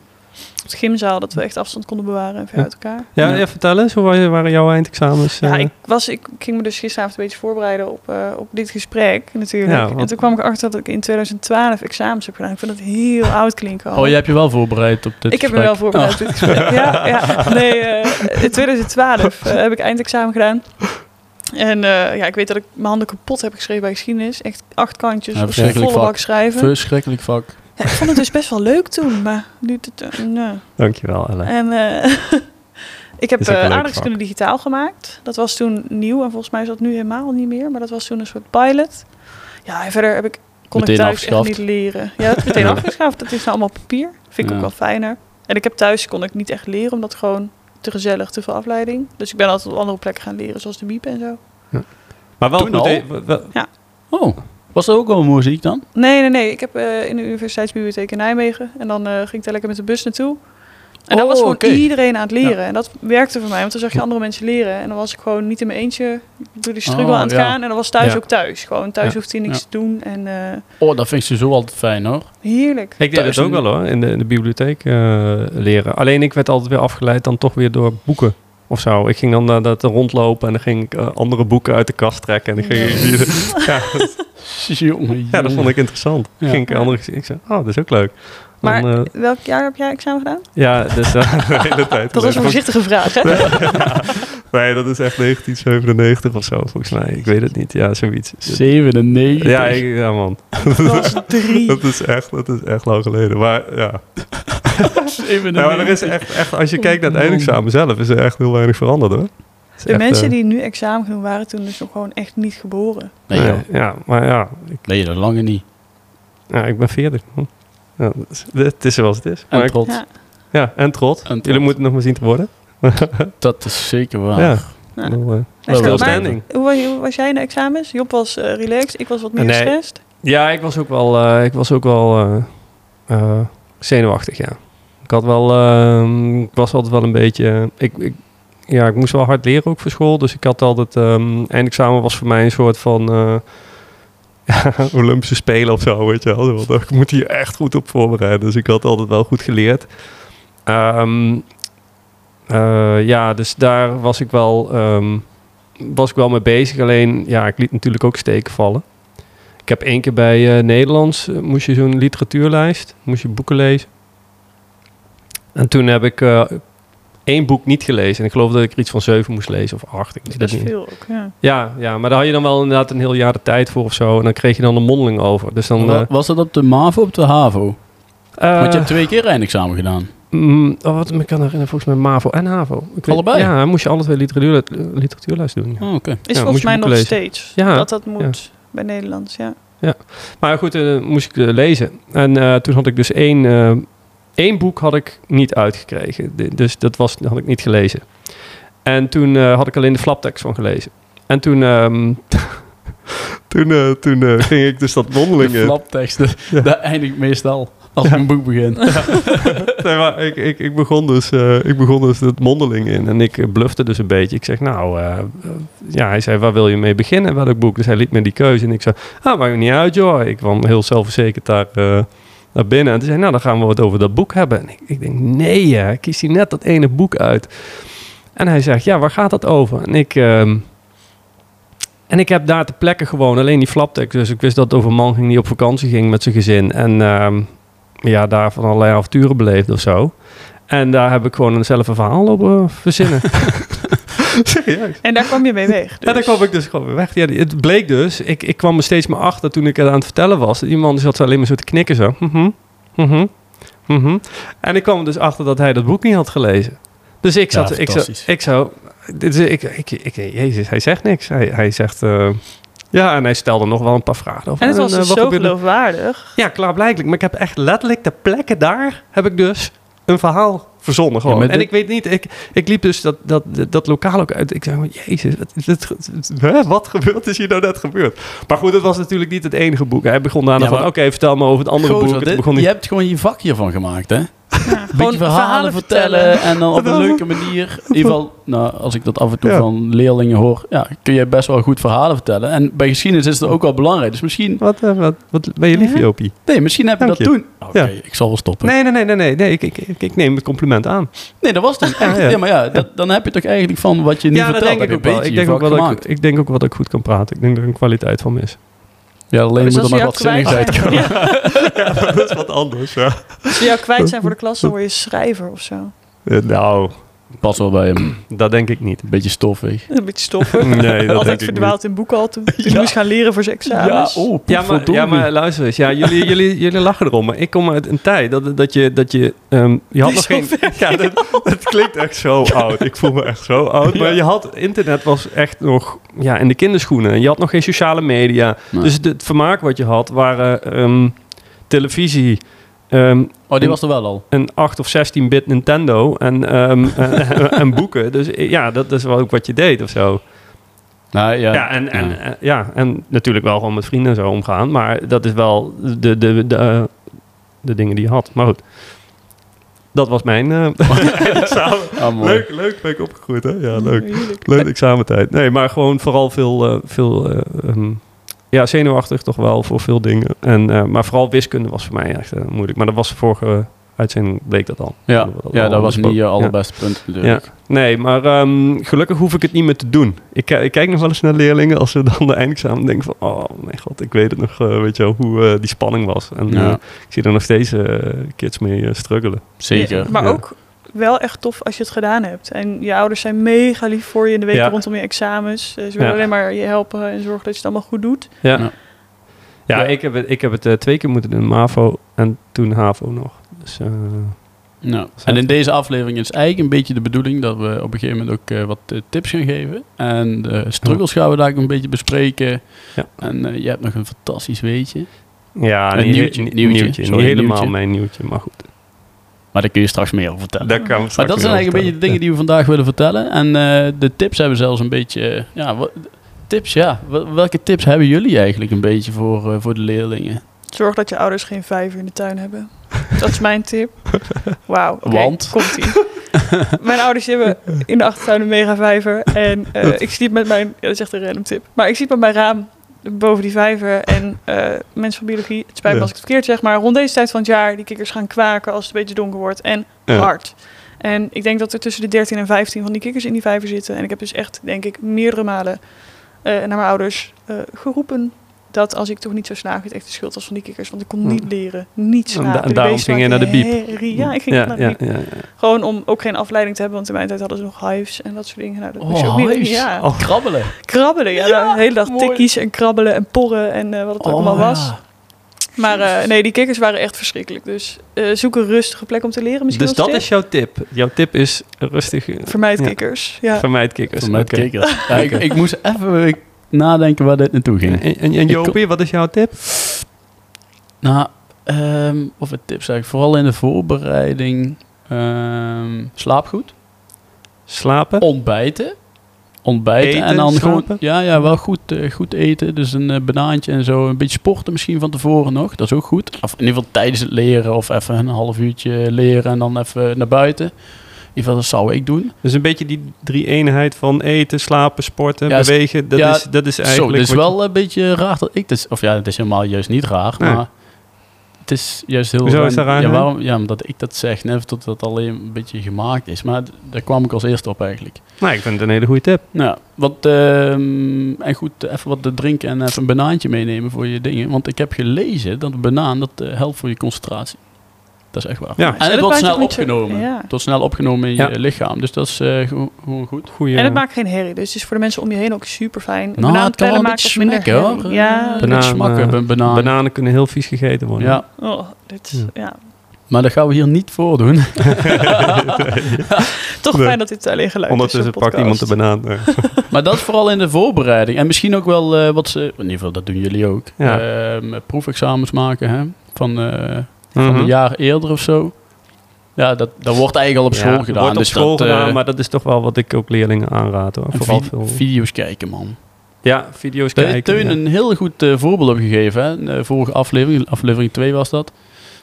Speaker 3: Op de gymzaal, dat we echt afstand konden bewaren en ver
Speaker 1: Ja.
Speaker 3: uit elkaar.
Speaker 1: Ja,
Speaker 2: Ja.
Speaker 1: ja, vertel eens, hoe wa- waren jouw eindexamens?
Speaker 3: Ja,
Speaker 1: eh?
Speaker 3: ik, was, ik ging me dus gisteravond een beetje voorbereiden op, eh, op dit gesprek natuurlijk.
Speaker 1: Ja, want-
Speaker 3: En toen kwam ik erachter dat ik in 2012 examens heb gedaan. Ik vind dat heel oud klinken al.
Speaker 2: Oh, je hebt je wel voorbereid op dit
Speaker 3: ik heb me wel
Speaker 2: gesprek.
Speaker 3: voorbereid op dit gesprek. Ja, ja. Nee, eh, in 2012 eh, heb ik eindexamen gedaan. En eh, ja, ik weet dat ik mijn handen kapot heb geschreven bij geschiedenis. Echt acht kantjes,
Speaker 2: Ja,
Speaker 3: op zo'n
Speaker 2: verschrikkelijk
Speaker 3: volle
Speaker 2: vak.
Speaker 3: bak schrijven.
Speaker 2: Verschrikkelijk vak.
Speaker 3: Ja, ik vond het dus best wel leuk toen, maar nu... t- eh, nee.
Speaker 1: Dankjewel, Ellen.
Speaker 3: En eh, [LAUGHS] ik heb
Speaker 1: Is ook een
Speaker 3: eh,
Speaker 1: leuk
Speaker 3: aardrijkskunde digitaal gemaakt. Dat was toen nieuw en volgens mij is dat nu helemaal niet meer. Maar dat was toen een soort pilot. Ja, en verder heb ik, kon
Speaker 2: Meteen
Speaker 3: ik thuis
Speaker 2: afgeschaft.
Speaker 3: echt niet leren. Ja, dat is meteen
Speaker 1: [LAUGHS] Ja.
Speaker 3: afgeschaft. Dat is nou allemaal papier. Vind ik
Speaker 2: Ja.
Speaker 3: ook wel fijner. En ik heb thuis kon ik niet echt leren, omdat gewoon te gezellig, te veel afleiding. Dus ik ben altijd op andere plekken gaan leren, zoals de biep en zo.
Speaker 1: maar wel
Speaker 2: Toen
Speaker 1: goed.
Speaker 2: al?
Speaker 1: eh, we- we-
Speaker 2: Oh, was dat ook al muziek dan?
Speaker 3: Nee, nee, nee. Ik heb eh, in de universiteitsbibliotheek in Nijmegen. En dan eh, ging ik daar lekker met de bus naartoe. En dan
Speaker 2: Oh,
Speaker 3: was gewoon
Speaker 2: oké.
Speaker 3: iedereen aan het leren. En dat werkte voor mij, want dan zag je andere mensen leren. En dan was ik gewoon niet in mijn eentje door die struggle
Speaker 2: Oh,
Speaker 3: aan het
Speaker 2: ja.
Speaker 3: gaan. En dan was thuis
Speaker 1: Ja.
Speaker 3: ook thuis. Gewoon thuis
Speaker 2: Ja.
Speaker 3: hoefde je niks te doen. En eh,
Speaker 2: Oh, dat vind ik sowieso altijd fijn hoor.
Speaker 3: heerlijk.
Speaker 1: ik deed
Speaker 2: Thuis
Speaker 1: dat ook
Speaker 2: een-
Speaker 1: wel hoor, in de, in de bibliotheek eh, leren. Alleen ik werd altijd weer afgeleid dan toch weer door boeken of zo. Ik ging dan naar dat rondlopen en dan ging ik eh, andere boeken uit de kast trekken. En dan ging ik die- [LAUGHS] ja,
Speaker 2: [LAUGHS] Jongen,
Speaker 1: ja, dat vond ik interessant.
Speaker 2: Ja.
Speaker 1: Ging ik andere, ik zei, oh, dat is ook leuk. Dan,
Speaker 3: Maar-
Speaker 1: eh,
Speaker 3: Welk jaar heb jij examen gedaan?
Speaker 1: ja, dus eh, [LAUGHS] de hele tijd.
Speaker 3: Dat was een voorzichtige
Speaker 1: [LAUGHS]
Speaker 3: vraag, hè?
Speaker 1: Nee, [LAUGHS] dat is echt 1997 of zo, volgens mij. Ik weet het niet. Ja, zoiets.
Speaker 2: 97.
Speaker 1: Ja, ik- ja man.
Speaker 3: Dat was
Speaker 1: [LAUGHS]
Speaker 3: drie.
Speaker 1: Dat is echt, dat is echt lang geleden. Maar ja.
Speaker 2: [LAUGHS] 97.
Speaker 1: Nou, maar er is echt, echt, als je kijkt naar het eindexamen zelf, is er echt heel weinig veranderd hoor. Het is
Speaker 3: Oh, De
Speaker 1: echt,
Speaker 3: mensen
Speaker 1: eh,
Speaker 3: die nu examen doen, waren toen dus nog gewoon echt niet geboren.
Speaker 2: Nee,
Speaker 1: nee,
Speaker 2: joh.
Speaker 1: ja, maar ja, ik,
Speaker 2: Ben je dat lange niet.
Speaker 1: ja, ik ben 40. man. Ja, dat is- het is zoals het is.
Speaker 2: En
Speaker 1: Maar ik-
Speaker 2: trots.
Speaker 3: Ja.
Speaker 1: ja, en trots.
Speaker 2: En trots.
Speaker 1: Jullie moeten nog maar zien te worden. [LAUGHS]
Speaker 2: Dat is zeker waar.
Speaker 1: Ja.
Speaker 3: Ja.
Speaker 1: Nou, eh,
Speaker 3: Echt
Speaker 1: still
Speaker 3: waar.
Speaker 1: standing.
Speaker 3: Hoe was, hoe was jij in de examens? Job was eh, relaxed, ik was wat meer
Speaker 1: Nee.
Speaker 3: gestrest.
Speaker 1: Ja, ik was ook wel, eh, ik was ook wel eh, eh, zenuwachtig, ja. Ik had wel, ehm, ik was altijd wel een beetje, ik, ik, ja, ik moest wel hard leren ook voor school. Dus ik had altijd, ehm eindexamen was voor mij een soort van eh, ja, [LAUGHS] Olympische Spelen of zo, weet je wel. Want ik moet hier echt goed op voorbereiden. Dus ik had altijd wel goed geleerd. Ehm, eh, ja, dus daar was ik wel, ehm, was ik wel mee bezig. Alleen, ja, ik liet natuurlijk ook steken vallen. Ik heb één keer bij eh, Nederlands, eh, moest je zo'n literatuurlijst, moest je boeken lezen. En toen heb ik eh, één boek niet gelezen. En ik geloof dat ik er iets van zeven moest lezen of acht. Ik weet
Speaker 3: Dus
Speaker 1: het
Speaker 3: best
Speaker 1: niet.
Speaker 3: veel ook, ja.
Speaker 1: Ja, ja, maar daar had je dan wel inderdaad een heel jaar de tijd voor of zo. En dan kreeg je dan een mondeling over. Dus dan...
Speaker 2: Wa- Was dat op de MAVO of op de HAVO?
Speaker 1: eh,
Speaker 2: Want je hebt twee keer eindexamen gedaan.
Speaker 1: mm, oh, wat ik me kan herinneren, volgens mij MAVO en HAVO. Ik weet-
Speaker 2: Allebei?
Speaker 1: Ja, dan moest je alle twee literatuur, literatuurlijst doen. Ja.
Speaker 2: Oh, oké.
Speaker 3: Is
Speaker 1: Ja, moet
Speaker 3: volgens
Speaker 1: je
Speaker 3: mij nog
Speaker 1: boeken lezen.
Speaker 3: steeds
Speaker 1: Ja,
Speaker 3: dat dat moet bij Nederlands, ja.
Speaker 1: Maar goed, eh, moest ik eh, lezen. En eh, toen had ik dus één, eh, één boek had ik niet uitgekregen. De- dus dat was, had ik niet gelezen. En toen eh, had ik alleen de flaptekst van gelezen. En toen, ehm, [LAUGHS] toen, eh, toen eh, ging ik dus dat mondeling
Speaker 2: De
Speaker 1: in. [LAUGHS]
Speaker 2: flapteksten, daar eindig ik meestal als ik een boek begin.
Speaker 1: [LAUGHS] Nee, maar ik, ik, ik, begon dus, eh, ik begon dus het mondeling in. En ik eh, blufte dus een beetje. Ik zeg, nou, eh, eh, ja, hij zei, waar wil je mee beginnen? Welk boek? Dus hij liet me die keuze. En ik zei, ah, maakt niet uit, joh. Ik kwam heel zelfverzekerd daar eh, naar binnen. En toen zei hij, nou, dan gaan we wat over dat boek hebben. En ik, ik denk, nee, hè, ik kies hier net dat ene boek uit. En hij zegt, ja, waar gaat dat over? En ik... ehm, en ik heb daar te plekken gewoon alleen die flaptekst. Dus ik wist dat het over een man ging die op vakantie ging met zijn gezin. En ehm, ja, daar van allerlei avonturen beleefd of zo. En daar heb ik gewoon een zelf een verhaal lopen
Speaker 2: [LAUGHS]
Speaker 1: verzinnen.
Speaker 2: Dus-
Speaker 1: Serieus.
Speaker 3: En daar kwam je mee weg.
Speaker 1: En dan kwam ik dus gewoon weer weg. Ja, het bleek dus, ik, ik kwam er steeds maar achter toen ik het aan het vertellen was. Die man zat zo alleen maar zo te knikken zo. Mhm, mhm, mhm. En ik kwam er dus achter dat hij dat boek niet had gelezen. Dus ik
Speaker 2: Ja,
Speaker 1: zat, ik, zo,
Speaker 2: fantastisch.
Speaker 1: ik zo, dit is, ik, ik, ik, jezus, hij zegt niks. Hij, hij zegt, eh, ja, en hij stelde nog wel een paar vragen over.
Speaker 3: En het was
Speaker 1: eh,
Speaker 3: dus
Speaker 1: wat
Speaker 3: zo
Speaker 1: gebeurde-
Speaker 3: geloofwaardig.
Speaker 1: ja, klaarblijkelijk. Maar ik heb echt letterlijk de plekken daar heb ik dus een verhaal verzonnen gewoon.
Speaker 2: Ja, maar
Speaker 1: en
Speaker 2: dit-
Speaker 1: ik weet niet, ik, ik liep dus dat, dat, dat lokaal ook uit. Ik zei, maar, jezus, wat, is dit ge- [LAUGHS] hè? wat gebeurt is hier nou net gebeurd? Maar goed, het was natuurlijk niet het enige boek. Hij begon daarna
Speaker 2: Ja,
Speaker 1: van,
Speaker 2: maar-
Speaker 1: oké, vertel me over het andere
Speaker 2: Gozer,
Speaker 1: boek. En toen
Speaker 2: dit-
Speaker 1: begon hij-
Speaker 2: je hebt gewoon je vak hiervan gemaakt, hè?
Speaker 3: Ja,
Speaker 2: Een beetje verhalen, vertellen, en
Speaker 1: [LAUGHS]
Speaker 2: dan op een leuke manier. In ieder geval, nou, als ik dat af en toe
Speaker 1: Ja.
Speaker 2: van leerlingen hoor, ja, kun je best wel goed verhalen vertellen. En bij geschiedenis is dat ook wel belangrijk. Dus misschien,
Speaker 1: Wat, eh, wat, wat ben je lief,
Speaker 3: Ja.
Speaker 1: Jopie?
Speaker 2: nee, misschien heb je
Speaker 1: Dank
Speaker 2: dat
Speaker 1: je.
Speaker 2: toen. Oké,
Speaker 1: Ja.
Speaker 2: ik zal wel stoppen. Nee,
Speaker 1: Nee, nee, nee, nee, nee, nee ik, ik, ik, ik neem het compliment aan.
Speaker 2: dat was toch echt.
Speaker 1: ja.
Speaker 2: Ja, maar ja, dat, dan heb je toch eigenlijk van wat je nu vertelt, heb je een beetje
Speaker 1: Ik
Speaker 2: je
Speaker 1: denk ook,
Speaker 2: vak
Speaker 1: wel dat ik,
Speaker 2: gemaakt.
Speaker 1: ik denk ook wel dat ik goed kan praten. Ik denk dat er een kwaliteit van is.
Speaker 2: Ja, alleen
Speaker 3: Dus
Speaker 2: moet
Speaker 3: als
Speaker 2: er
Speaker 3: ze
Speaker 2: maar
Speaker 3: jou
Speaker 2: wat zinnigs [LAUGHS]
Speaker 3: kwijt
Speaker 2: uitkomen.
Speaker 3: zijn- Ja,
Speaker 1: [LAUGHS] dat is wat anders, ja.
Speaker 3: als ze jou kwijt zijn voor de klas, dan [LAUGHS] word je schrijver of zo.
Speaker 1: Nou,
Speaker 2: Pas wel bij hem. Een
Speaker 1: dat denk ik niet.
Speaker 2: beetje stoffig.
Speaker 3: Een beetje [LAUGHS] stoffen.
Speaker 1: Nee, dat denk
Speaker 3: Altijd
Speaker 1: ik niet.
Speaker 3: verdwaald in boeken al
Speaker 1: [LAUGHS]
Speaker 3: toen, toen ik moest gaan leren voor zijn examens.
Speaker 2: oh,
Speaker 1: Ja maar, ja, maar luister eens.
Speaker 2: [LAUGHS]
Speaker 1: Ja, jullie, jullie, jullie lachen erom. Maar ik kom uit een tijd dat, dat je... Dat je, ehm, je had nog geen... [LAUGHS] Ja, dat, dat klinkt echt zo oud. Ik voel me echt zo oud. Maar je had... Internet was echt nog ja, in de kinderschoenen. Je had nog geen sociale media.
Speaker 2: Nee.
Speaker 1: Dus het, het vermaak wat je had waren ehm, televisie... ehm,
Speaker 2: Oh, die was er wel al.
Speaker 1: een 8 of 16-bit Nintendo en, ehm, [LAUGHS] en, en boeken. Dus ja, dat, is wel ook wat je deed of zo.
Speaker 2: Nou, ja,
Speaker 1: Ja, en, en,
Speaker 2: ja.
Speaker 1: en- ja, en natuurlijk wel gewoon met vrienden en zo omgaan. Maar dat is wel de, de, de, eh, de dingen die je had. Maar goed, dat was mijn eh, [LAUGHS] examen.
Speaker 2: Ah, mooi.
Speaker 1: Leuk, leuk ben ik opgegroeid, hè? Ja, leuk.
Speaker 3: Heerlijk.
Speaker 1: Leuk examentijd. Nee, maar gewoon vooral veel, eh, veel eh, ehm, ja, zenuwachtig toch wel voor veel dingen. En, eh, maar vooral wiskunde was voor mij echt eh, moeilijk. Maar dat was de vorige uitzending bleek dat al.
Speaker 2: Ja,
Speaker 1: We hadden
Speaker 2: ja
Speaker 1: al
Speaker 2: dat was niet
Speaker 1: besproken.
Speaker 2: je
Speaker 1: Ja.
Speaker 2: allerbeste punt natuurlijk.
Speaker 1: Nee, maar ehm, gelukkig hoef ik het niet meer te doen. Ik, ki- ik kijk nog wel eens naar leerlingen als ze dan de eindexamen denken van... Oh mijn god, ik weet het nog, eh, weet je wel, hoe eh, die spanning was. En
Speaker 2: Ja.
Speaker 1: eh, ik zie er nog steeds eh, kids mee eh, struggelen.
Speaker 2: Zeker.
Speaker 3: Ja, maar
Speaker 1: ja.
Speaker 3: ook wel echt tof als je het gedaan hebt. En je ouders zijn mega lief voor je in de weken
Speaker 1: Ja.
Speaker 3: rondom je examens. Eh, Ze willen
Speaker 1: Ja.
Speaker 3: alleen maar je helpen en zorgen dat je het allemaal goed doet.
Speaker 1: Ja,
Speaker 2: Ja.
Speaker 1: ja.
Speaker 2: Ja.
Speaker 1: ik heb het, ik heb het eh, twee keer moeten doen. MAVO en toen HAVO nog. Dus eh,
Speaker 2: Nou, en in deze aflevering is eigenlijk een beetje de bedoeling dat we op een gegeven moment ook eh, wat eh, tips gaan geven. En de struggles gaan we daar ook een beetje bespreken.
Speaker 1: Ja.
Speaker 2: En eh, je hebt nog een fantastisch weetje.
Speaker 1: ja,
Speaker 2: Een
Speaker 1: niet-
Speaker 2: nieuwtje,
Speaker 1: niet-
Speaker 2: nieuwtje.
Speaker 1: Niet
Speaker 2: Sorry,
Speaker 1: helemaal
Speaker 2: nieuwtje.
Speaker 1: mijn nieuwtje, maar goed.
Speaker 2: Maar daar kun je straks meer over vertellen.
Speaker 1: Daar kan
Speaker 2: maar dat zijn eigenlijk een beetje de dingen die we vandaag willen vertellen. En eh, de tips hebben we zelfs een beetje... eh, ja, wa- tips, ja. Wel- Welke tips hebben jullie eigenlijk een beetje voor, eh, voor de leerlingen?
Speaker 3: Zorg dat je ouders geen vijver in de tuin hebben. Dat is mijn tip. Wauw. oké,
Speaker 2: Want?
Speaker 3: Komt-ie. [LAUGHS] Mijn ouders die hebben in de achtertuin een mega vijver. En eh, ik sliep met mijn... Ja, dat is echt een random tip. Maar ik sliep met mijn raam boven die vijver. En eh, mensen van biologie, het spijt me
Speaker 1: Ja.
Speaker 3: als ik het verkeerd zeg... maar rond deze tijd van het jaar die kikkers gaan kwaken als het een beetje donker wordt. En
Speaker 1: Ja.
Speaker 3: hard. En ik denk dat er tussen de 13 en 15 van die kikkers in die vijver zitten. En ik heb dus echt, denk ik, meerdere malen eh, naar mijn ouders eh, geroepen dat als ik toch niet zou slagen, het echt de schuld was van die kikkers. Want ik kon niet leren, niet
Speaker 1: Hmm. En da-
Speaker 3: slagen.
Speaker 1: en
Speaker 3: Die
Speaker 1: daarom
Speaker 3: beesten
Speaker 1: ging je
Speaker 3: maakten
Speaker 1: naar de
Speaker 3: herrie. Ja, ik ging
Speaker 1: ja,
Speaker 3: naar de
Speaker 1: ja,
Speaker 3: biep.
Speaker 1: ja, ja.
Speaker 3: Gewoon om ook geen afleiding te hebben, want in mijn tijd hadden ze nog hives en dat soort dingen. Nou, dat moest je
Speaker 2: Oh,
Speaker 3: ook niet doen.
Speaker 2: huis.
Speaker 3: Ja.
Speaker 2: Oh, krabbelen.
Speaker 3: Krabbelen, ja,
Speaker 2: Ja,
Speaker 3: de hele dag
Speaker 2: mooi.
Speaker 3: tikkies en krabbelen en porren en eh, wat
Speaker 1: Oh,
Speaker 3: het ook allemaal
Speaker 2: ja.
Speaker 3: was. Maar eh, nee, die kikkers waren echt verschrikkelijk. Dus eh, zoek een rustige plek om te leren misschien
Speaker 1: Dus
Speaker 3: nog
Speaker 1: dat is
Speaker 3: steeds.
Speaker 1: jouw tip. Jouw tip is rustig. eh,
Speaker 3: Vermijd
Speaker 1: Ja.
Speaker 3: kikkers, ja.
Speaker 1: Vermijd kikkers.
Speaker 2: Van met
Speaker 1: Oké.
Speaker 2: [LAUGHS] kikkers. Ja, ik, ik moest even nadenken waar dit naartoe ging.
Speaker 1: En, en, en Jopie, wat is jouw tip?
Speaker 2: Nou, ehm, of het tips eigenlijk. Vooral in de voorbereiding. ehm, slaap goed.
Speaker 1: Slapen.
Speaker 2: Ontbijten. Ontbijten
Speaker 1: Eten,
Speaker 2: en dan
Speaker 1: slapen?
Speaker 2: gewoon. Ja, ja, wel goed, eh, goed eten. Dus een eh, banaantje en zo. Een beetje sporten misschien van tevoren nog. Dat is ook goed. Of in ieder geval tijdens het leren. Of even een half uurtje leren en dan even naar buiten. In ieder geval, dat zou ik doen.
Speaker 1: Dus een beetje die drie-eenheid van eten, slapen, sporten,
Speaker 2: Ja, s-
Speaker 1: bewegen. Dat,
Speaker 2: ja,
Speaker 1: is, dat is
Speaker 2: Zo,
Speaker 1: eigenlijk...
Speaker 2: het is
Speaker 1: wat je-
Speaker 2: wel een beetje raar dat ik dit... Of ja, het is helemaal juist niet raar,
Speaker 1: Nee.
Speaker 2: maar... Het is juist heel...
Speaker 1: Hoezo is dat raar,
Speaker 2: Ja,
Speaker 1: hè?
Speaker 2: waarom, ja, omdat ik dat zeg. Net dat dat alleen een beetje gemaakt is. Maar d- daar kwam ik als eerste op eigenlijk.
Speaker 1: Nou, ik vind het een hele goede tip.
Speaker 2: Nou, wat... ehm, en goed, even wat te drinken en even een banaantje meenemen voor je dingen. Want ik heb gelezen dat een banaan, dat eh, helpt voor je concentratie. Dat is echt waar.
Speaker 1: Ja.
Speaker 2: En het
Speaker 3: dat
Speaker 2: wordt
Speaker 3: maakt
Speaker 2: snel
Speaker 3: toch niet zo-
Speaker 2: opgenomen.
Speaker 3: ja.
Speaker 2: Het wordt snel opgenomen in
Speaker 1: Ja.
Speaker 2: je lichaam. Dus dat is eh, gewoon, gewoon goed.
Speaker 1: Goeie,
Speaker 3: En het maakt geen herrie, dus het is voor de mensen om je heen ook super fijn.
Speaker 2: Nou, het kan wel een beetje smakken hoor.
Speaker 3: Ja,
Speaker 2: Een beetje
Speaker 1: Banaan,
Speaker 2: smakken,
Speaker 1: eh,
Speaker 2: een banaan.
Speaker 1: Bananen kunnen heel vies gegeten worden.
Speaker 2: Ja,
Speaker 3: oh, dit,
Speaker 1: Ja.
Speaker 3: ja.
Speaker 2: Maar dat gaan we hier niet voordoen.
Speaker 1: [LAUGHS]
Speaker 3: Toch
Speaker 1: Nee.
Speaker 3: fijn dat dit alleen geluid is.
Speaker 1: Ondertussen
Speaker 3: zo'n
Speaker 1: pakt iemand de
Speaker 3: podcast.
Speaker 1: banaan. eh.
Speaker 2: maar dat is vooral in de voorbereiding. En misschien ook wel eh, wat ze... In ieder geval, dat doen jullie ook.
Speaker 1: Ja.
Speaker 2: Ehm, proefexamens maken, hè. Van, eh, [LAUGHS] van
Speaker 1: Mhm.
Speaker 2: een jaar eerder of zo. Ja, dat, dat wordt eigenlijk al op
Speaker 1: Ja,
Speaker 2: school
Speaker 1: het
Speaker 2: gedaan.
Speaker 1: Wordt op
Speaker 2: dus
Speaker 1: school
Speaker 2: dat, eh,
Speaker 1: gedaan, maar dat is toch wel wat ik ook leerlingen aanraad. Hoor.
Speaker 2: en
Speaker 1: Vooral
Speaker 2: vi-
Speaker 1: veel...
Speaker 2: video's kijken, man.
Speaker 1: ja, video's
Speaker 2: Daar
Speaker 1: kijken.
Speaker 2: heeft Teun
Speaker 1: ja.
Speaker 2: een heel goed eh, voorbeeld op gegeven. Hè? In de vorige aflevering, aflevering 2 was dat.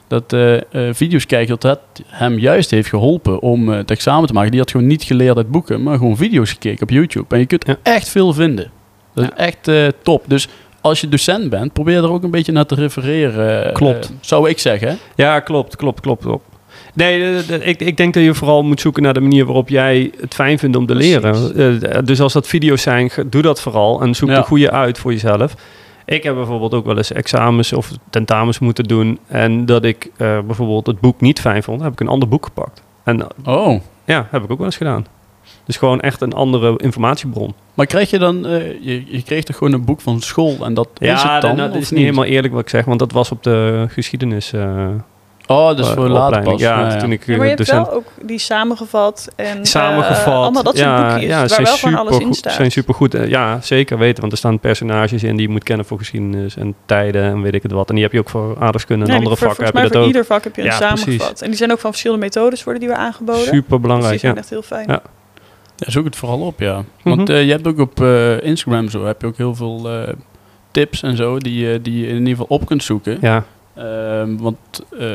Speaker 2: Dat eh, eh, video's kijken, dat het hem juist heeft geholpen om eh, het examen te maken. Die had gewoon niet geleerd uit boeken, maar gewoon video's gekeken op YouTube. En je kunt
Speaker 1: Ja.
Speaker 2: echt veel vinden. Dat is
Speaker 1: Ja.
Speaker 2: echt eh, top. Dus als je docent bent, probeer er ook een beetje naar te refereren. eh,
Speaker 1: Klopt.
Speaker 2: eh, zou ik zeggen. hè?
Speaker 1: Ja, klopt, klopt, klopt. klopt. Nee, eh, eh, ik, ik denk dat je vooral moet zoeken naar de manier waarop jij het fijn vindt om te
Speaker 2: Precies.
Speaker 1: leren. Eh, dus als dat video's zijn, ge- doe dat vooral en zoek
Speaker 2: Ja.
Speaker 1: de goede uit voor jezelf. Ik heb bijvoorbeeld ook wel eens examens of tentamens moeten doen en dat ik eh, bijvoorbeeld het boek niet fijn vond, heb ik een ander boek gepakt. En eh,
Speaker 2: Oh.
Speaker 1: ja, heb ik ook wel eens gedaan. Dus gewoon echt een andere informatiebron.
Speaker 2: Maar krijg je dan, eh, je, je kreeg toch gewoon een boek van school en dat is
Speaker 1: ja,
Speaker 2: het dan?
Speaker 1: nou, dat
Speaker 2: of
Speaker 1: is niet, helemaal eerlijk wat ik zeg, want dat was op de geschiedenis. eh
Speaker 2: Oh, dus
Speaker 1: eh,
Speaker 2: voor later
Speaker 1: opleiding.
Speaker 2: pas.
Speaker 1: Ja,
Speaker 2: Nou ja.
Speaker 1: toen ik
Speaker 3: Ja, maar je
Speaker 1: eh,
Speaker 3: hebt
Speaker 1: docent
Speaker 3: wel ook die samengevat en eh,
Speaker 1: samengevat.
Speaker 3: allemaal dat soort
Speaker 1: ja,
Speaker 3: boekjes
Speaker 1: ja,
Speaker 3: waar
Speaker 1: zijn
Speaker 3: wel van alles in
Speaker 1: supergoed-
Speaker 3: staat.
Speaker 1: zijn supergoed. Eh, Ja, zeker weten. Want er staan personages in die je moet kennen voor geschiedenis en tijden en weet ik het wat. En die heb je ook voor aardrijkskunde en
Speaker 3: Nee, die-
Speaker 1: andere
Speaker 3: voor-
Speaker 1: vakken heb je dat
Speaker 3: volgens mij voor
Speaker 1: ook.
Speaker 3: ieder vak heb je een
Speaker 1: Ja, precies.
Speaker 3: samengevat. En die zijn ook van verschillende methodes worden die weer aangeboden.
Speaker 1: Super
Speaker 3: dus die
Speaker 1: belangrijk,
Speaker 3: zijn
Speaker 1: ja.
Speaker 3: echt heel fijn.
Speaker 1: Ja.
Speaker 2: Ja, zoek het vooral op, ja. Want
Speaker 1: Mhm.
Speaker 2: eh, je hebt ook op eh, Instagram zo, heb je ook heel veel eh, tips en zo, die, je- die je in ieder geval op kunt zoeken.
Speaker 1: Ja,
Speaker 2: Ehm, want eh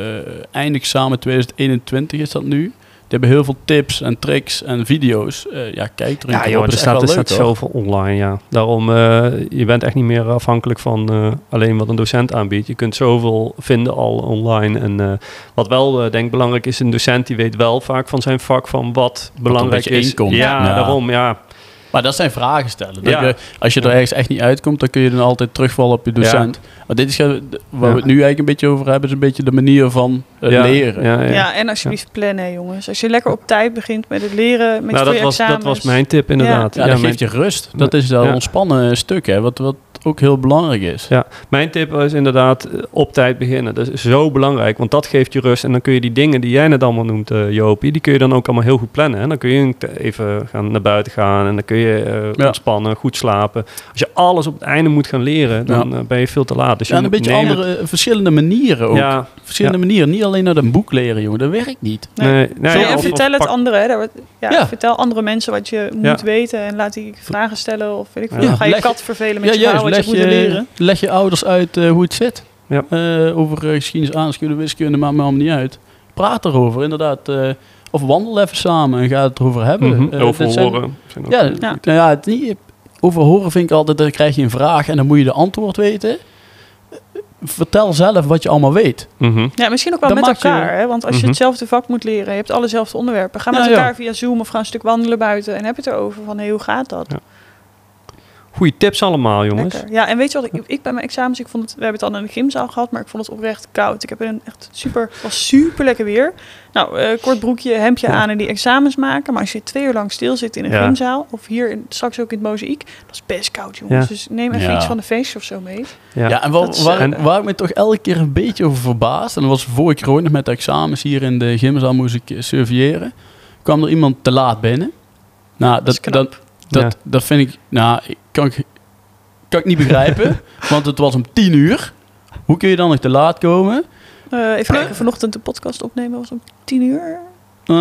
Speaker 2: eindexamen 2021 is dat nu. Dit hebben heel veel tips en tricks en video's. Eh, ja, kijk er een
Speaker 1: Ja,
Speaker 2: keer
Speaker 1: joh,
Speaker 2: op.
Speaker 1: er
Speaker 2: Is
Speaker 1: staat, er
Speaker 2: echt wel
Speaker 1: staat
Speaker 2: leuk, hoor.
Speaker 1: zoveel online, ja. Daarom, eh, je bent echt niet meer afhankelijk van eh, alleen wat een docent aanbiedt. Je kunt zoveel vinden al online. En eh, wat wel, eh, denk ik, belangrijk is, een docent die weet wel vaak van zijn vak van wat belangrijk
Speaker 2: beetje
Speaker 1: is.
Speaker 2: inkomt.
Speaker 1: Ja,
Speaker 2: Ja.
Speaker 1: daarom, ja.
Speaker 2: Maar dat zijn vragen stellen. Dat
Speaker 1: Ja.
Speaker 2: je- als je er ergens echt niet uitkomt, dan kun je dan altijd terugvallen op je docent. Maar dit is ge- d- waar we het nu eigenlijk een beetje over hebben, is een beetje de manier van het
Speaker 1: ja,
Speaker 2: leren.
Speaker 1: Ja, ja.
Speaker 3: Ja, en alsjeblieft plannen, hè, jongens. Als je lekker op tijd begint met het leren, met
Speaker 1: nou,
Speaker 3: je
Speaker 1: dat was, dat
Speaker 3: examens.
Speaker 1: was mijn tip inderdaad.
Speaker 2: Ja, dat
Speaker 1: mijn,
Speaker 2: geeft je rust. Dat is dat
Speaker 1: Ja.
Speaker 2: ontspannen stuk, hè, wat, wat ook heel belangrijk is.
Speaker 1: Ja, mijn tip is inderdaad eh, op tijd beginnen. Dat is zo belangrijk, want dat geeft je rust. En dan kun je die dingen die jij net allemaal noemt, eh Jopie, die kun je dan ook allemaal heel goed plannen. En dan kun je even gaan naar buiten gaan en dan kun je eh,
Speaker 2: Ja.
Speaker 1: ontspannen, goed slapen. Als je alles op het einde moet gaan leren, dan eh, ben je veel te laat. Dus
Speaker 2: Ja,
Speaker 1: je
Speaker 2: en een
Speaker 1: moet-
Speaker 2: beetje
Speaker 1: neem het-
Speaker 2: andere, eh, verschillende manieren ook.
Speaker 1: Ja,
Speaker 2: Verschillende manieren. Niet alleen naar een boek leren, jongen. Dat werkt niet.
Speaker 1: nee.
Speaker 3: Nee.
Speaker 1: nee,
Speaker 3: Nee,
Speaker 1: ja,
Speaker 3: en
Speaker 1: of-
Speaker 3: vertel
Speaker 1: of
Speaker 3: het
Speaker 1: pak-
Speaker 3: anderen. Hè. Daar wordt- Ja,
Speaker 2: Ja.
Speaker 3: Vertel andere mensen wat je moet weten. En laat die vragen stellen. Of weet ik veel.
Speaker 1: Ja,
Speaker 3: Ga je
Speaker 2: leg-
Speaker 3: kat vervelen
Speaker 2: Ja,
Speaker 3: met je
Speaker 2: juist.
Speaker 3: vrouw wat je
Speaker 2: Leg
Speaker 3: moet leren.
Speaker 2: je, leg je ouders uit eh, hoe het zit.
Speaker 1: Ja.
Speaker 2: Eh, over eh, geschiedenis, aardrijkskunde, wiskunde, maakt me allemaal niet uit. Praat erover, inderdaad. eh, of wandel even samen en ga het erover hebben.
Speaker 1: Mhm,
Speaker 2: Eh,
Speaker 1: Heel veel
Speaker 2: dit zijn-
Speaker 1: horen. Zijn ook-
Speaker 2: Ja, nou ja. het niet, over horen vind ik altijd, dan krijg je een vraag en dan moet je de antwoord weten. Eh, Vertel zelf wat je allemaal weet.
Speaker 1: Mhm.
Speaker 3: Ja, misschien ook wel
Speaker 2: Dan
Speaker 3: met
Speaker 2: maak je-
Speaker 3: elkaar. Hè? Want als je
Speaker 1: Mhm.
Speaker 3: hetzelfde vak moet leren, je hebt allezelfde onderwerpen. Ga met
Speaker 2: Ja, ja.
Speaker 3: elkaar via Zoom of ga een stuk wandelen buiten. En heb het erover van, hey, hoe gaat dat?
Speaker 1: Ja, Goeie tips allemaal, jongens.
Speaker 3: Lekker. Ja, en weet je wat, ik, ik bij mijn examens, ik vond het, we hebben het al in de gymzaal gehad, maar ik vond het oprecht koud. Ik heb een echt super, het was super lekker weer. Nou, eh, kort broekje, hemdje
Speaker 1: Ja.
Speaker 3: aan en die examens maken. Maar als je twee uur lang stil zit in een
Speaker 1: Ja.
Speaker 3: gymzaal, of hier in, straks ook in het mozaïek, dat is best koud, jongens.
Speaker 1: Ja.
Speaker 3: Dus neem even
Speaker 2: Ja.
Speaker 3: iets van een feestje of zo mee.
Speaker 1: Ja.
Speaker 2: Ja, en wa-
Speaker 3: Dat is,
Speaker 2: waar,
Speaker 1: eh,
Speaker 2: waar ik me toch elke keer een beetje over verbaasd. En dat was vorige keer ook nog met de examens hier in de gymzaal moest ik eh, surveilleren. Kwam er iemand te laat binnen. Nou, dat,
Speaker 3: is
Speaker 2: dat,
Speaker 3: knap.
Speaker 2: dat,
Speaker 1: Ja.
Speaker 2: dat vind ik, nou, ik- kan ik, kan ik niet
Speaker 1: [LAUGHS]
Speaker 2: begrijpen. want het was om tien uur. Hoe kun je dan nog te laat komen?
Speaker 3: Eh, even kijken, vanochtend de podcast opnemen was om tien
Speaker 1: [LAUGHS]
Speaker 3: uur.
Speaker 2: Ah,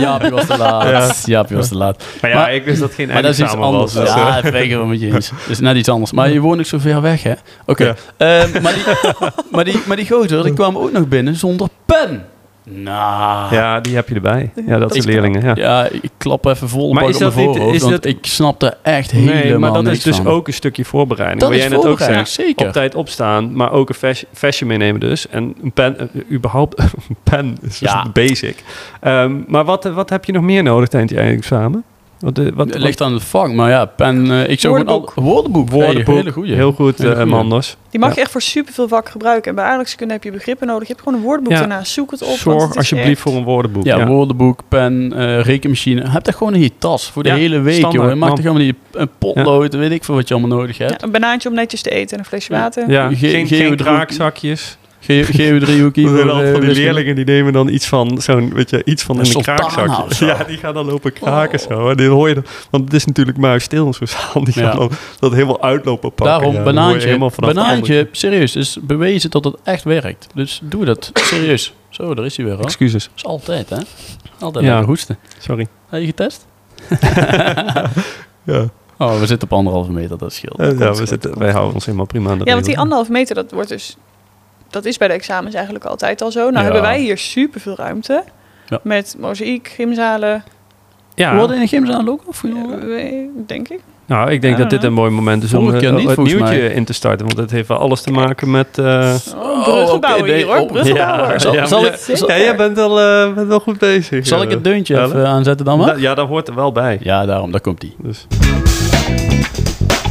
Speaker 2: Jaapie was te laat.
Speaker 1: Ja.
Speaker 2: Jaapie was te laat.
Speaker 1: Maar ja,
Speaker 2: Maar-
Speaker 1: ik wist dat geen
Speaker 2: Maar dat is iets
Speaker 1: eindexamen was.
Speaker 2: anders.
Speaker 1: dus, eh,
Speaker 2: ja, dat ben ik wel met je eens. Dat is net iets anders. Maar je woont ook zo ver weg, hè? Oké. Ehm, maar, die, [LAUGHS] maar, die, maar die gozer, die kwam ook nog binnen zonder pen. Nou.
Speaker 1: ja, die heb je erbij. Ja, dat
Speaker 3: Dat
Speaker 1: soort
Speaker 3: is
Speaker 1: leerlingen. Ah. Ja.
Speaker 2: Ja, ik klap even vol
Speaker 1: Maar
Speaker 2: maar
Speaker 1: is
Speaker 2: op mijn
Speaker 1: dat niet-
Speaker 2: voorhoofd,
Speaker 1: is
Speaker 2: want
Speaker 1: dat-
Speaker 2: ik snapte echt
Speaker 1: Nee,
Speaker 2: helemaal
Speaker 1: maar dat
Speaker 2: niks
Speaker 1: is dus
Speaker 2: van.
Speaker 1: ook een stukje voorbereiding.
Speaker 2: Dat
Speaker 1: waar
Speaker 2: is
Speaker 1: jij net ook
Speaker 2: voorbereiding,
Speaker 1: zegt.
Speaker 2: zeker.
Speaker 1: Op tijd opstaan, maar ook een vers- versje meenemen dus. En een pen, eh, überhaupt [LAUGHS] een pen is dus
Speaker 2: Ja.
Speaker 1: basic. Ehm, maar wat, eh, wat heb je nog meer nodig tijdens je eindexamen? Wat, eh, wat,
Speaker 2: Het ligt aan het vak, maar ja, pen... eh, ik zou
Speaker 3: Woordenboek.
Speaker 2: Gewoon al, woordenboek.
Speaker 1: wat-
Speaker 2: Hey,
Speaker 1: woordenboek,
Speaker 2: hele goeie.
Speaker 1: heel goed,
Speaker 2: Hele
Speaker 1: eh,
Speaker 2: goeie.
Speaker 1: Manders.
Speaker 3: Die mag
Speaker 1: Ja.
Speaker 3: je echt voor superveel vakken gebruiken. En bij aardrijkskunde heb je begrippen nodig. Je hebt gewoon een woordenboek
Speaker 1: Ja.
Speaker 3: daarnaast. Zoek het op. want het
Speaker 1: Zorg
Speaker 3: is
Speaker 1: alsjeblieft
Speaker 3: echt-
Speaker 1: voor een woordenboek.
Speaker 2: ja,
Speaker 1: Ja,
Speaker 2: woordenboek, pen, eh, rekenmachine. Heb dat gewoon in je tas voor de
Speaker 1: Ja,
Speaker 2: hele week,
Speaker 1: standaard,
Speaker 2: joh.
Speaker 1: man.
Speaker 2: Maak toch helemaal niet een potlood, weet ik veel wat je allemaal nodig hebt.
Speaker 3: Ja, een banaantje om netjes te eten en een flesje
Speaker 2: Ja.
Speaker 3: water.
Speaker 1: Ja,
Speaker 2: Ge-
Speaker 1: geen, geen
Speaker 2: geodroek.
Speaker 1: draakzakjes.
Speaker 2: Ge- Geodriehoekie.
Speaker 1: [LAUGHS] Er zijn
Speaker 2: voor,
Speaker 1: al
Speaker 2: eh,
Speaker 1: van die dus-
Speaker 2: wiskunde.
Speaker 1: leerlingen die nemen dan iets van zo'n, weet je, iets van
Speaker 2: Een
Speaker 1: in een
Speaker 2: sultana of
Speaker 1: kraakzakje.
Speaker 2: zo.
Speaker 1: Ja, die gaan dan lopen kraken
Speaker 2: Oh.
Speaker 1: zo. En die hoor je dan, want het is natuurlijk muisstil in zo'n zaal. Die gaan
Speaker 2: Ja.
Speaker 1: dan dat helemaal uitlopen pakken.
Speaker 2: Daarom,
Speaker 1: Ja, dan hoor je
Speaker 2: banaantje.
Speaker 1: helemaal vanaf de andere
Speaker 2: Banaantje, serieus, is bewezen dat het echt werkt. Dus doe dat, serieus. Zo, daar is hij weer al. Dat
Speaker 1: Excuses.
Speaker 2: is altijd, hè? Altijd
Speaker 1: Ja.
Speaker 2: ja. hoesten.
Speaker 1: Sorry.
Speaker 2: Heb je getest?
Speaker 1: Ja,
Speaker 2: [LAUGHS] Oh, we zitten op anderhalve meter, dat scheelt.
Speaker 1: ja,
Speaker 2: Dat komt
Speaker 1: we
Speaker 2: zo.
Speaker 1: zitten, wij houden ons helemaal prima aan de
Speaker 3: Ja, want die
Speaker 1: regels.
Speaker 3: anderhalf meter, dat wordt dus. Dat is bij de examens eigenlijk altijd al zo. Nou
Speaker 2: Ja.
Speaker 3: hebben wij hier superveel ruimte.
Speaker 2: Ja.
Speaker 3: Met mozaïek, gymzalen,
Speaker 2: We
Speaker 1: Ja,
Speaker 2: hadden in de gymzaal ook of
Speaker 3: eh, denk ik.
Speaker 1: nou, ik denk dat dit een mooi moment is om
Speaker 2: Volgende keer
Speaker 1: eh,
Speaker 2: niet,
Speaker 1: het
Speaker 2: volgens
Speaker 1: nieuwtje
Speaker 2: mij.
Speaker 1: in te starten. Want het heeft wel alles te maken met... eh,
Speaker 3: Oh, bruggebouwen
Speaker 2: oké, nee,
Speaker 3: hier hoor,
Speaker 2: oh,
Speaker 3: bruggebouwer.
Speaker 2: ja. Zal-
Speaker 1: maar
Speaker 2: zal
Speaker 1: jij-
Speaker 2: ik- zal-
Speaker 1: ja, jij bent wel, eh, bent wel goed bezig.
Speaker 2: Zal ik
Speaker 1: eh.
Speaker 2: het deuntje
Speaker 1: Ellen?
Speaker 2: even aanzetten dan
Speaker 1: Nou,
Speaker 2: maar?
Speaker 1: Ja, dat hoort er wel bij.
Speaker 2: Ja, daarom, daar komt die.
Speaker 1: Dus.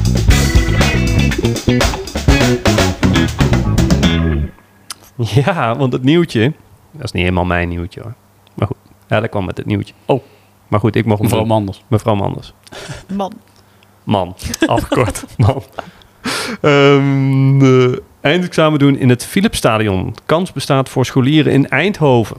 Speaker 1: [LAUGHS] Ja, want het nieuwtje... Dat is niet helemaal mijn nieuwtje hoor. Maar goed, Ellen kwam met het nieuwtje.
Speaker 2: Oh.
Speaker 1: Maar goed, ik mocht hem
Speaker 2: Mevrouw
Speaker 1: doen.
Speaker 2: Manders.
Speaker 1: Mevrouw Manders.
Speaker 3: Man.
Speaker 1: Man, afgekort, man. Ehm, de eindexamen doen in het Philipsstadion. Kans bestaat voor scholieren in Eindhoven.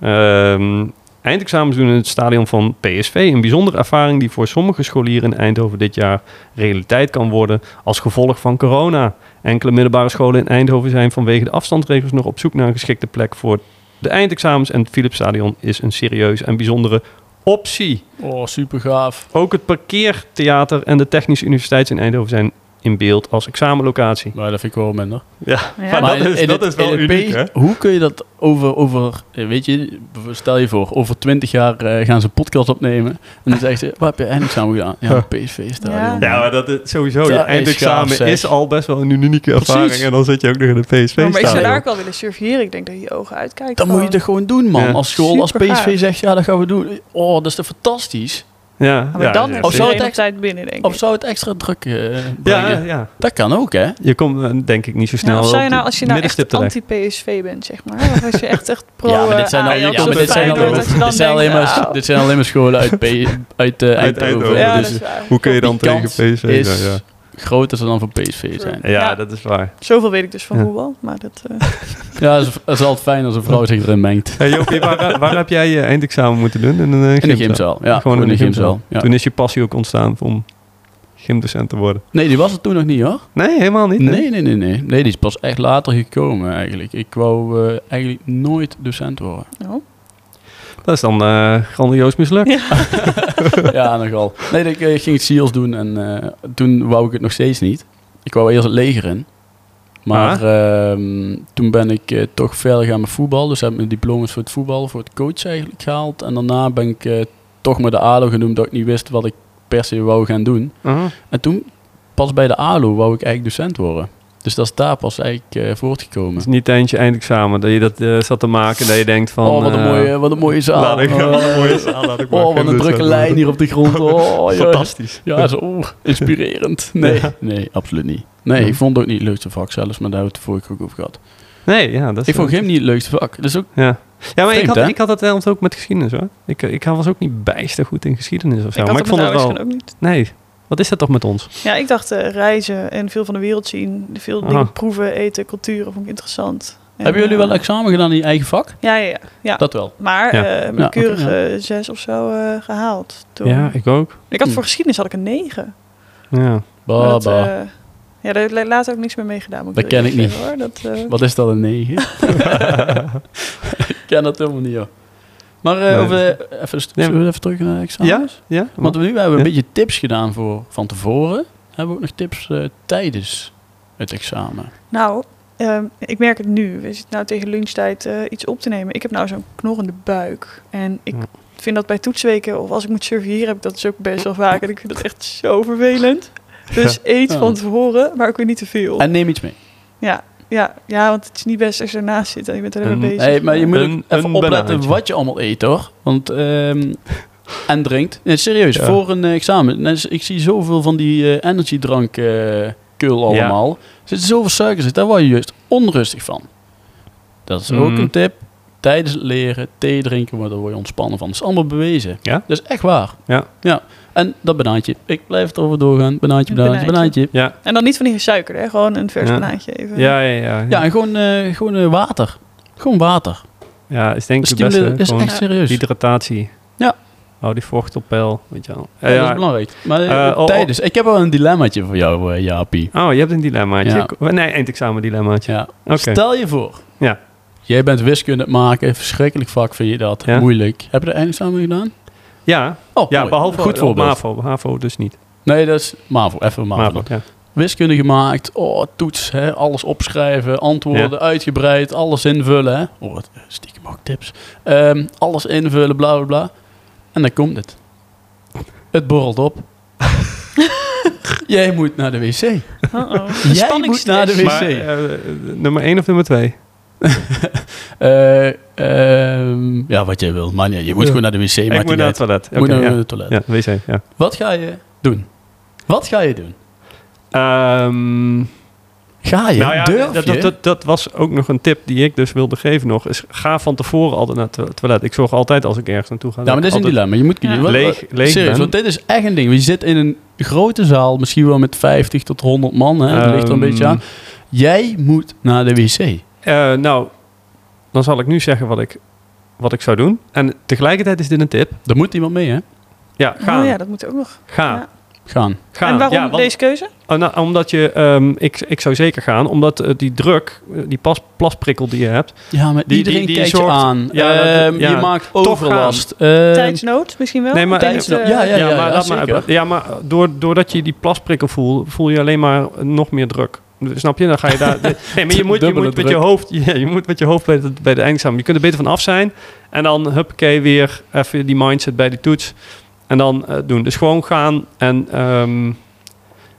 Speaker 1: Ehm, eindexamens doen in het stadion van PSV. Een bijzondere ervaring die voor sommige scholieren in Eindhoven dit jaar realiteit kan worden als gevolg van corona. Enkele middelbare scholen in Eindhoven zijn vanwege de afstandsregels nog op zoek naar een geschikte plek voor de eindexamens. En het Philipsstadion is een serieuze en bijzondere optie.
Speaker 2: Oh, super gaaf.
Speaker 1: Ook het parkeertheater en de Technische Universiteit in Eindhoven zijn in beeld als examenlocatie.
Speaker 2: Maar dat vind ik wel minder.
Speaker 1: Ja,
Speaker 3: Ja.
Speaker 1: maar
Speaker 3: Maar
Speaker 1: dat,
Speaker 2: in-
Speaker 1: is,
Speaker 2: in
Speaker 1: dat
Speaker 2: het-
Speaker 1: is wel
Speaker 2: in het
Speaker 1: uniek,
Speaker 2: P-
Speaker 1: hè?
Speaker 2: Hoe kun je dat over, over, eh, weet je, stel je voor, over twintig jaar eh, gaan ze een podcast opnemen. En dan zegt ze, waar heb je eindexamen gedaan? Ja, PSV stadion.
Speaker 1: Ja, maar dat is sowieso. Je
Speaker 2: Ja, is gaaf,
Speaker 1: eindexamen
Speaker 2: zeg.
Speaker 1: is al best wel een unieke ervaring.
Speaker 2: Precies.
Speaker 1: En dan zit je ook nog in de PSV.
Speaker 3: Ja, maar ik zou
Speaker 1: stadion.
Speaker 3: daar ook wel willen surferen. Ik denk dat je je ogen uitkijkt.
Speaker 2: Dan moet je
Speaker 3: gewoon.
Speaker 2: dat gewoon doen, man.
Speaker 1: Ja.
Speaker 2: Als school, als
Speaker 3: Supergaaf.
Speaker 2: PSV zegt, ja, dat gaan we doen. Oh, dat is toch fantastisch?
Speaker 1: Ja,
Speaker 3: Ja, Maar dan
Speaker 1: ja,
Speaker 3: Oh, heb je
Speaker 2: Of
Speaker 1: zeker.
Speaker 2: zou
Speaker 3: de
Speaker 2: het
Speaker 3: hele
Speaker 2: echt-
Speaker 3: tijd binnen, denk ik.
Speaker 2: Of zou het extra druk eh,
Speaker 1: ja,
Speaker 2: brengen?
Speaker 1: ja,
Speaker 2: Dat kan ook, hè?
Speaker 1: je komt eh, denk ik niet zo snel.
Speaker 3: Ja, of
Speaker 1: op
Speaker 3: zou je
Speaker 1: de
Speaker 3: nou, als je nou
Speaker 1: middenstip
Speaker 3: echt
Speaker 1: terecht.
Speaker 3: anti-PSV bent, zeg maar. [LAUGHS] Of als je echt echt pro
Speaker 2: ja, maar dit zijn,
Speaker 3: eh,
Speaker 2: al,
Speaker 3: Ajax
Speaker 2: ja,
Speaker 3: of
Speaker 2: maar dit, zijn
Speaker 3: Feyenoord,
Speaker 2: alleen,
Speaker 1: allemaal-
Speaker 3: dat je
Speaker 2: dit,
Speaker 3: dan
Speaker 2: zijn alleen
Speaker 3: denkt,
Speaker 2: maar,
Speaker 3: ah,
Speaker 2: dit zijn alleen maar scholen uit, P, uit, eh, Eindhoven.
Speaker 1: Eindhoven.
Speaker 3: ja,
Speaker 2: dus
Speaker 3: dat is waar.
Speaker 1: Hoe kun je dan
Speaker 2: die
Speaker 1: tegen
Speaker 2: kans
Speaker 1: PSV zijn?
Speaker 2: is
Speaker 1: Ja,
Speaker 2: groter dan voor PSV zijn.
Speaker 1: ja.
Speaker 3: Ja.
Speaker 1: dat is
Speaker 3: [LAUGHS]
Speaker 1: waar.
Speaker 3: Zoveel weet ik dus van
Speaker 1: Ja.
Speaker 3: voetbal, maar dat... eh,
Speaker 2: Ja, het is, het is altijd fijn als een vrouw zich erin mengt.
Speaker 1: Hey, Jopie, waar, waar heb jij je eindexamen moeten doen? In een eh,
Speaker 2: In de
Speaker 1: gymzaal?
Speaker 2: gymzaal. Ja, gewoon in de gymzaal. Ja.
Speaker 1: Toen is je passie ook ontstaan om gymdocent te worden.
Speaker 2: Nee, die was er toen nog niet hoor.
Speaker 1: Nee, helemaal niet. hè?
Speaker 2: Nee, nee, nee, nee. Nee, die is pas echt later gekomen eigenlijk. Ik wou eh, eigenlijk nooit docent [LAUGHS] worden.
Speaker 3: [LAUGHS] nou.
Speaker 1: Dat is dan eh, grandioos mislukt.
Speaker 2: ja, nogal. Nee, ik eh, ging het SEALS doen en eh, toen wou ik het nog steeds niet. Ik wou eerst het leger in. Maar ehm, toen ben ik eh, toch verder gaan met voetbal. Dus heb ik mijn diploma's voor het voetbal, voor het coach eigenlijk gehaald. En daarna ben ik eh, toch met de ADO genoemd dat ik niet wist wat ik per se wou gaan doen.
Speaker 1: Aha.
Speaker 2: En toen, pas bij de ALO, wou ik eigenlijk docent worden. Dus dat is daar pas eigenlijk eh, voortgekomen.
Speaker 1: Het is niet tijdens je eindexamen dat je dat eh, zat te maken. Dat je denkt van...
Speaker 2: oh, wat een,
Speaker 1: eh,
Speaker 2: mooie, wat een mooie zaal.
Speaker 1: laat ik-
Speaker 2: Oh,
Speaker 1: wat een mooie zaal, laat ik maar
Speaker 2: Oh, wat een
Speaker 1: gymdocent
Speaker 2: drukke
Speaker 1: worden.
Speaker 2: lijn hier op de grond. Oh, ja,
Speaker 1: [LAUGHS] Fantastisch.
Speaker 2: ja zo oh,
Speaker 1: [LAUGHS]
Speaker 2: inspirerend. Nee, nee, absoluut niet. Nee, ik vond het ook niet het leukste vak zelfs, maar daar hebben we het vorige keer ook over gehad.
Speaker 1: Nee, ja, dat is eh,
Speaker 2: Ik vond gym niet het leukste vak. Dat is ook,
Speaker 1: Ja, ja maar
Speaker 2: Vreemd,
Speaker 1: ik,
Speaker 2: hè?
Speaker 1: had, ik had dat wel ook met geschiedenis hoor. Ik, eh, ik was ook niet bijster goed in geschiedenis of zo.
Speaker 3: ik had
Speaker 1: maar ik
Speaker 3: het
Speaker 1: vond
Speaker 3: met
Speaker 1: het
Speaker 3: Ajax
Speaker 1: wel.
Speaker 3: gewoon ook niet.
Speaker 1: Nee, wat is dat toch met ons?
Speaker 3: Ja, ik dacht eh, reizen en veel van de wereld zien. Veel
Speaker 1: Aha.
Speaker 3: dingen proeven, eten, culturen, vond ik interessant. En,
Speaker 2: hebben jullie
Speaker 3: eh,
Speaker 2: wel examen gedaan in je eigen vak?
Speaker 3: Ja, ja, ja. ja.
Speaker 2: Dat wel.
Speaker 3: Maar
Speaker 1: Ja.
Speaker 3: eh met
Speaker 2: Ja, oké,
Speaker 3: keurig eh, zes of zo eh, gehaald. Toen.
Speaker 1: Ja,
Speaker 3: ik,
Speaker 1: ik ook.
Speaker 3: had
Speaker 2: Hm.
Speaker 3: voor geschiedenis had ik een negen.
Speaker 1: Ja.
Speaker 2: Bah,
Speaker 3: Maar dat,
Speaker 2: bah.
Speaker 3: eh, ja, daar heb ik later ook niks meer mee gedaan. moet
Speaker 2: Dat
Speaker 3: eerlijk
Speaker 2: ken ik niet.
Speaker 3: zeggen, Hoor. Dat, eh,
Speaker 2: Wat is dat,
Speaker 1: [LAUGHS]
Speaker 2: een 9? [LAUGHS] ik ken dat helemaal niet, hoor. Maar eh,
Speaker 1: Nee.
Speaker 2: over de- even,
Speaker 1: Nee.
Speaker 2: zullen we even terug naar de examens?
Speaker 1: Ja? ja?
Speaker 2: Want we- nu hebben we een
Speaker 1: Ja.
Speaker 2: beetje tips gedaan voor van tevoren. Hebben we ook nog tips eh, tijdens het examen?
Speaker 3: Nou, ehm, ik merk het nu. We zitten nou tegen lunchtijd eh, iets op te nemen. Ik heb nou zo'n knorrende buik. En ik
Speaker 1: Ja.
Speaker 3: vind dat bij toetsweken of als ik moet surveilleren heb ik dat dus ook best wel vaak. En ik vind dat echt zo vervelend. Dus eet
Speaker 2: Ja.
Speaker 3: van tevoren, maar ook weer niet te veel.
Speaker 2: En neem iets mee.
Speaker 3: Ja, ja, ja, want het is niet best als je ernaast zit en je bent er helemaal
Speaker 1: Een-
Speaker 3: bezig.
Speaker 2: Hey, Mhm. maar je moet ook
Speaker 1: Een-
Speaker 2: even
Speaker 1: een
Speaker 2: opletten
Speaker 1: banaantje.
Speaker 2: wat je allemaal eet, hoor.
Speaker 1: [LAUGHS]
Speaker 2: Want, ehm, en drinkt. Nee, serieus,
Speaker 1: Ja.
Speaker 2: voor een eh, examen. Nou, Ik zie zoveel van die eh, energiedrank eh kul allemaal. Er zitten zoveel suikers in. Daar word je juist onrustig van. Dat is ook
Speaker 1: Mm.
Speaker 2: een tip. Tijdens het leren, thee drinken, maar daar word je ontspannen van. Dat is allemaal bewezen.
Speaker 1: Ja?
Speaker 2: Dat is echt waar.
Speaker 1: Ja.
Speaker 2: ja. En dat banaantje. Ik blijf erover doorgaan. Banaantje, banaantje,
Speaker 3: Banaantje.
Speaker 2: banaantje.
Speaker 1: Ja.
Speaker 3: En dan niet van die gesuikerde, hè? gewoon een vers
Speaker 1: Ja.
Speaker 3: banaantje even.
Speaker 1: Ja, ja, ja.
Speaker 2: Ja,
Speaker 1: Ja,
Speaker 2: en gewoon, eh, gewoon eh, water. Gewoon water.
Speaker 1: ja is denk ik het beste.
Speaker 2: Stimuleren
Speaker 1: hè?
Speaker 2: is
Speaker 1: Gewoon
Speaker 2: echt serieus.
Speaker 1: Hydratatie.
Speaker 2: Ja.
Speaker 1: Hou die vocht op peil, weet je wel.
Speaker 2: Ja,
Speaker 1: Eh,
Speaker 2: dat is
Speaker 1: ja.
Speaker 2: belangrijk. Maar eh,
Speaker 1: Eh, oh, oh.
Speaker 2: tijdens, ik heb wel een dilemmaatje voor jou, eh, Jaapie.
Speaker 1: Oh, je hebt een dilemmaatje.
Speaker 2: Ja.
Speaker 1: Ik- Nee, eindexamen dilemmaatje.
Speaker 2: Ja.
Speaker 1: Oké.
Speaker 2: Stel je voor,
Speaker 1: Ja.
Speaker 2: jij bent wiskunde aan het maken, verschrikkelijk vak vind je dat,
Speaker 1: Ja.
Speaker 2: moeilijk. Heb je er eindexamen gedaan?
Speaker 1: Ja,
Speaker 2: Oh,
Speaker 1: ja
Speaker 2: mooi.
Speaker 1: behalve
Speaker 2: goed
Speaker 1: Goed op
Speaker 2: voorbeeld.
Speaker 1: MAVO. HAVO dus niet.
Speaker 2: Nee, dat is MAVO, even MAVO.
Speaker 1: MAVO, ja.
Speaker 2: Wiskunde gemaakt, oh, toets, hè, alles opschrijven, antwoorden uitgebreid, alles invullen. Hè. Oh, wat, eh, stiekem ook tips. Ehm, alles invullen, bla bla bla. En dan komt het. Het borrelt
Speaker 1: [LAUGHS]
Speaker 2: op. jij moet naar de wc.
Speaker 3: Uh-oh.
Speaker 2: Jij moet naar de wc.
Speaker 1: Maar, eh, nummer 1 of nummer 2?
Speaker 2: [LAUGHS] Eh, ehm, ja, wat jij wil. Maar ja, je moet
Speaker 1: Ja.
Speaker 2: gewoon naar de wc.
Speaker 1: Ik
Speaker 2: maakt
Speaker 1: moet
Speaker 2: niet
Speaker 1: naar het
Speaker 2: uit.
Speaker 1: toilet.
Speaker 2: Je moet
Speaker 1: Oké,
Speaker 2: naar
Speaker 1: ja.
Speaker 2: het toilet.
Speaker 1: ja, wc, ja.
Speaker 2: Wat ga je doen? Wat ga je doen?
Speaker 1: Ehm,
Speaker 2: Ga je?
Speaker 1: nou ja,
Speaker 2: Durf
Speaker 1: dat,
Speaker 2: je?
Speaker 1: dat, dat, dat was ook nog een tip die ik dus wilde geven nog. Is ga van tevoren altijd naar het to- toilet. Ik zorg altijd als ik ergens naartoe ga.
Speaker 2: ja, maar dit is een dilemma. Je moet
Speaker 3: Ja.
Speaker 2: je- wat-
Speaker 1: Leeg-
Speaker 2: wat-
Speaker 1: leeg
Speaker 2: Serieus,
Speaker 1: ben.
Speaker 2: want dit is echt een ding. Je zit in een grote zaal, misschien wel met 50 tot 100 man. Hè? Dat ligt er een beetje
Speaker 1: Ehm.
Speaker 2: aan. Jij moet naar de wc.
Speaker 1: nou, dan zal ik nu zeggen wat ik, wat ik zou doen. En tegelijkertijd is dit een tip.
Speaker 2: Daar moet iemand mee, hè?
Speaker 1: Ja, ga.
Speaker 3: Oh ja, dat moet ook nog.
Speaker 1: Ga.
Speaker 3: Ja.
Speaker 2: gaan.
Speaker 1: Gaan.
Speaker 3: en waarom
Speaker 1: Ja, want-
Speaker 3: deze keuze?
Speaker 1: Oh, nou, omdat je, ehm, ik, ik zou zeker gaan, omdat eh, die druk, eh, die pas, plasprikkel die je hebt,
Speaker 2: Ja, maar
Speaker 1: Die-
Speaker 2: iedereen
Speaker 1: die- die
Speaker 2: kijkt
Speaker 1: zorgt-
Speaker 2: je aan.
Speaker 1: Ja, dat-
Speaker 2: Ehm,
Speaker 1: ja.
Speaker 2: je maakt
Speaker 1: Toch
Speaker 2: overlast. Ehm,
Speaker 3: Tijdsnood misschien wel?
Speaker 1: nee, maar-
Speaker 3: Ik denk,
Speaker 1: Tijdsnood,
Speaker 3: eh,
Speaker 2: ja, ja.
Speaker 1: maar, laat maar,
Speaker 2: zeker.
Speaker 1: uit- ja, maar door, doordat je die plasprikkel voelt, voel je alleen maar nog meer druk. Snap je? Dan ga je
Speaker 2: [LAUGHS]
Speaker 1: daar. Nee, maar je moet, je
Speaker 2: Dubbele
Speaker 1: moet met
Speaker 2: druk.
Speaker 1: je hoofd. [LAUGHS] Ja, je moet met je hoofd bij de, bij de eindexamen. Je kunt er beter van af zijn. En dan huppakee weer even die mindset bij die toets. En dan eh, doen. Dus gewoon gaan. En ehm,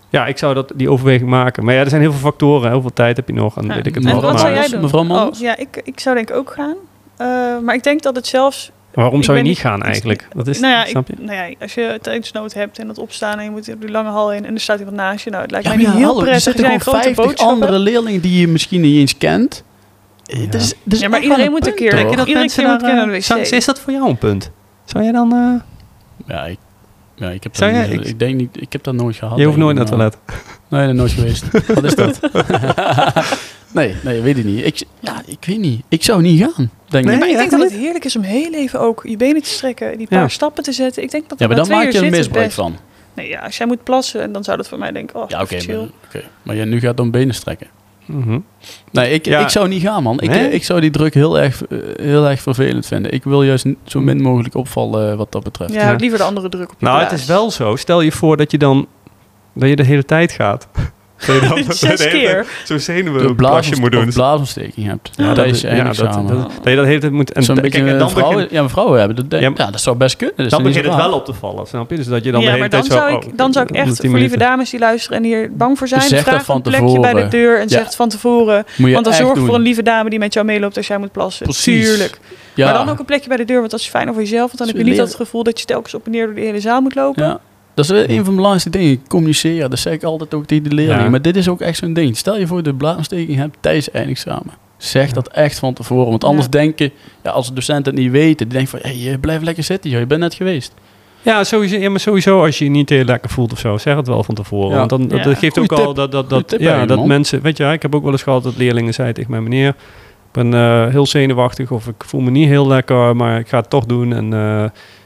Speaker 1: ja, ik zou dat, die overweging maken. Maar ja, er zijn heel veel factoren. hè. Hoeveel tijd heb je nog? En
Speaker 3: Ja.
Speaker 1: weet ik het
Speaker 2: En
Speaker 1: nog.
Speaker 2: wat
Speaker 1: Maar
Speaker 2: zou jij- Manders, mevrouw Manders?
Speaker 3: Oh, ja, ik, ik zou denk ik ook gaan. Eh, maar ik denk dat het zelfs...
Speaker 1: Waarom
Speaker 3: Ik
Speaker 1: zou je
Speaker 3: ben
Speaker 1: niet gaan eigenlijk? Dat is,
Speaker 3: nou, ja, ik,
Speaker 1: snap je?
Speaker 3: nou ja, als je tijdsnood hebt en dat opstaan en je moet op die lange hal heen en er staat iemand naast je. Nou, het lijkt
Speaker 2: Ja,
Speaker 3: mij niet
Speaker 2: maar ja,
Speaker 3: heel
Speaker 2: hallo, er
Speaker 3: prettig.
Speaker 2: zitten
Speaker 3: zijn
Speaker 2: gewoon
Speaker 3: grote
Speaker 2: 50
Speaker 3: boodschappen.
Speaker 2: andere leerlingen die je misschien niet eens kent. Eh,
Speaker 1: Ja.
Speaker 2: dat is- dat is
Speaker 3: Ja, maar
Speaker 2: echt wel
Speaker 3: iedereen moet een keer-
Speaker 2: punt,
Speaker 3: Denk je
Speaker 2: hoor.
Speaker 3: dat Iedereen mensen keer moet daar, eh, kennen de wc.
Speaker 1: Zou- Is dat voor jou een punt? Zou jij dan... eh,
Speaker 2: Ja, ik, ja, ik, heb
Speaker 1: Zou
Speaker 2: dat
Speaker 1: jij-
Speaker 2: niet-
Speaker 1: ik-
Speaker 2: ik, denk niet, ik heb dat nooit gehad.
Speaker 1: je hoeft
Speaker 2: denk
Speaker 1: nooit
Speaker 2: ik,
Speaker 1: naar het
Speaker 2: maar-
Speaker 1: toilet.
Speaker 2: Nee, dat nooit geweest. [LAUGHS] Wat is dat? nee, nee, weet ik niet. Ik, ja, ik weet niet. Ik zou niet gaan, denk
Speaker 1: Nee?
Speaker 2: ik.
Speaker 3: Maar ik denk
Speaker 1: echt
Speaker 3: dat het heerlijk is om heel even ook je benen te strekken, die paar
Speaker 1: Ja.
Speaker 3: stappen te zetten. Ik denk dat
Speaker 2: Ja, maar
Speaker 3: na
Speaker 2: dan
Speaker 3: twee
Speaker 2: maak je
Speaker 3: uur
Speaker 2: een
Speaker 3: zitten
Speaker 2: misbruik
Speaker 3: best-
Speaker 2: van.
Speaker 3: Nee, ja, als jij moet plassen, en dan zou dat voor mij denken, oh,
Speaker 2: Ja, oké.
Speaker 3: chill.
Speaker 2: maar oké. maar jij nu gaat dan benen strekken.
Speaker 1: Mhm.
Speaker 2: Nee, ik,
Speaker 1: Ja.
Speaker 2: ik zou niet gaan, man. Ik,
Speaker 1: Nee?
Speaker 2: ik zou die druk heel erg, eh, heel erg vervelend vinden. Ik wil juist n- zo min mogelijk opvallen eh, wat dat betreft.
Speaker 3: Ja,
Speaker 1: Ja.
Speaker 3: liever de andere druk op je
Speaker 1: Nou,
Speaker 3: plaats.
Speaker 1: het is wel zo. Stel je voor dat je dan... Dat je de hele tijd gaat. [LAUGHS] Dat je
Speaker 3: [LAUGHS]
Speaker 1: dan
Speaker 3: [LAUGHS] Zes
Speaker 1: de hele tijd
Speaker 3: keer.
Speaker 1: Zo'n
Speaker 2: Door
Speaker 1: zenuwenplasje
Speaker 2: blaas
Speaker 1: moet doen.
Speaker 2: of blaasontsteking hebt.
Speaker 1: Ja, dat,
Speaker 2: tijdens je
Speaker 1: ja, dat, dat,
Speaker 2: eindexamen.
Speaker 1: dat je dat hele tijd moet... En,
Speaker 2: eh, Zo'n
Speaker 1: da-
Speaker 2: beetje
Speaker 1: kijk, en dan,
Speaker 2: vrouwen,
Speaker 1: begint-
Speaker 2: ja, maar vrouwen hebben dat.
Speaker 1: Ja,
Speaker 2: Ja,
Speaker 1: maar-
Speaker 2: dat zou best kunnen. Dat is
Speaker 1: dan
Speaker 2: niet zo
Speaker 1: begint het
Speaker 2: raar.
Speaker 1: wel op te vallen, snap je? Dus dat je dan
Speaker 3: ja,
Speaker 1: de hele
Speaker 3: maar dan
Speaker 1: tijd
Speaker 3: zou,
Speaker 1: zo... oh,
Speaker 3: ik, dan zou ik echt voor lieve
Speaker 1: daar.
Speaker 3: dames die luisteren en hier bang voor zijn,
Speaker 2: Zeg dat
Speaker 3: vraag
Speaker 2: van
Speaker 3: een plekje bij de
Speaker 2: tevoren.
Speaker 3: deur en
Speaker 2: Ja.
Speaker 3: zeg het van tevoren.
Speaker 2: Moet je
Speaker 3: Want dan
Speaker 2: echt
Speaker 3: zorg
Speaker 2: doen.
Speaker 3: voor een lieve dame die met jou meeloopt als jij moet plassen.
Speaker 2: Precies.
Speaker 3: Tuurlijk.
Speaker 2: Ja.
Speaker 3: Maar dan ook een plekje bij de deur, want dat is fijner voor jezelf. Want dan
Speaker 2: Zo
Speaker 3: heb je niet
Speaker 2: leren.
Speaker 3: dat gevoel dat je telkens op en neer door de hele zaal moet lopen.
Speaker 2: Ja. Dat is wel een van de belangrijkste dingen. Communiceren. Dat zeg ik altijd ook tegen de leerlingen.
Speaker 1: Ja.
Speaker 2: Maar dit is ook echt zo'n ding. Stel je voor de blaasontsteking hebt tijdens eindexamen. Zeg dat echt van tevoren. Want anders
Speaker 3: Ja.
Speaker 2: denken, ja, als de docenten het niet weten, die denken van, hey, eh, blijf lekker zitten, joh. je bent net geweest.
Speaker 1: Ja, sowieso, ja, maar sowieso als je je niet heel lekker voelt of zo, zeg het wel van tevoren.
Speaker 2: Ja.
Speaker 1: Want dan, dat,
Speaker 3: Ja.
Speaker 1: dat geeft
Speaker 2: Goeie
Speaker 1: ook
Speaker 2: tip.
Speaker 1: al dat, dat,
Speaker 2: Goeie
Speaker 1: dat,
Speaker 2: tip
Speaker 1: ja,
Speaker 2: eigenlijk,
Speaker 1: dat
Speaker 2: man.
Speaker 1: mensen... Weet je, ik heb ook wel eens gehad dat leerlingen zeiden tegen mij... meneer, ik ben eh, heel zenuwachtig of ik voel me niet heel lekker, maar ik ga het toch doen. En, eh,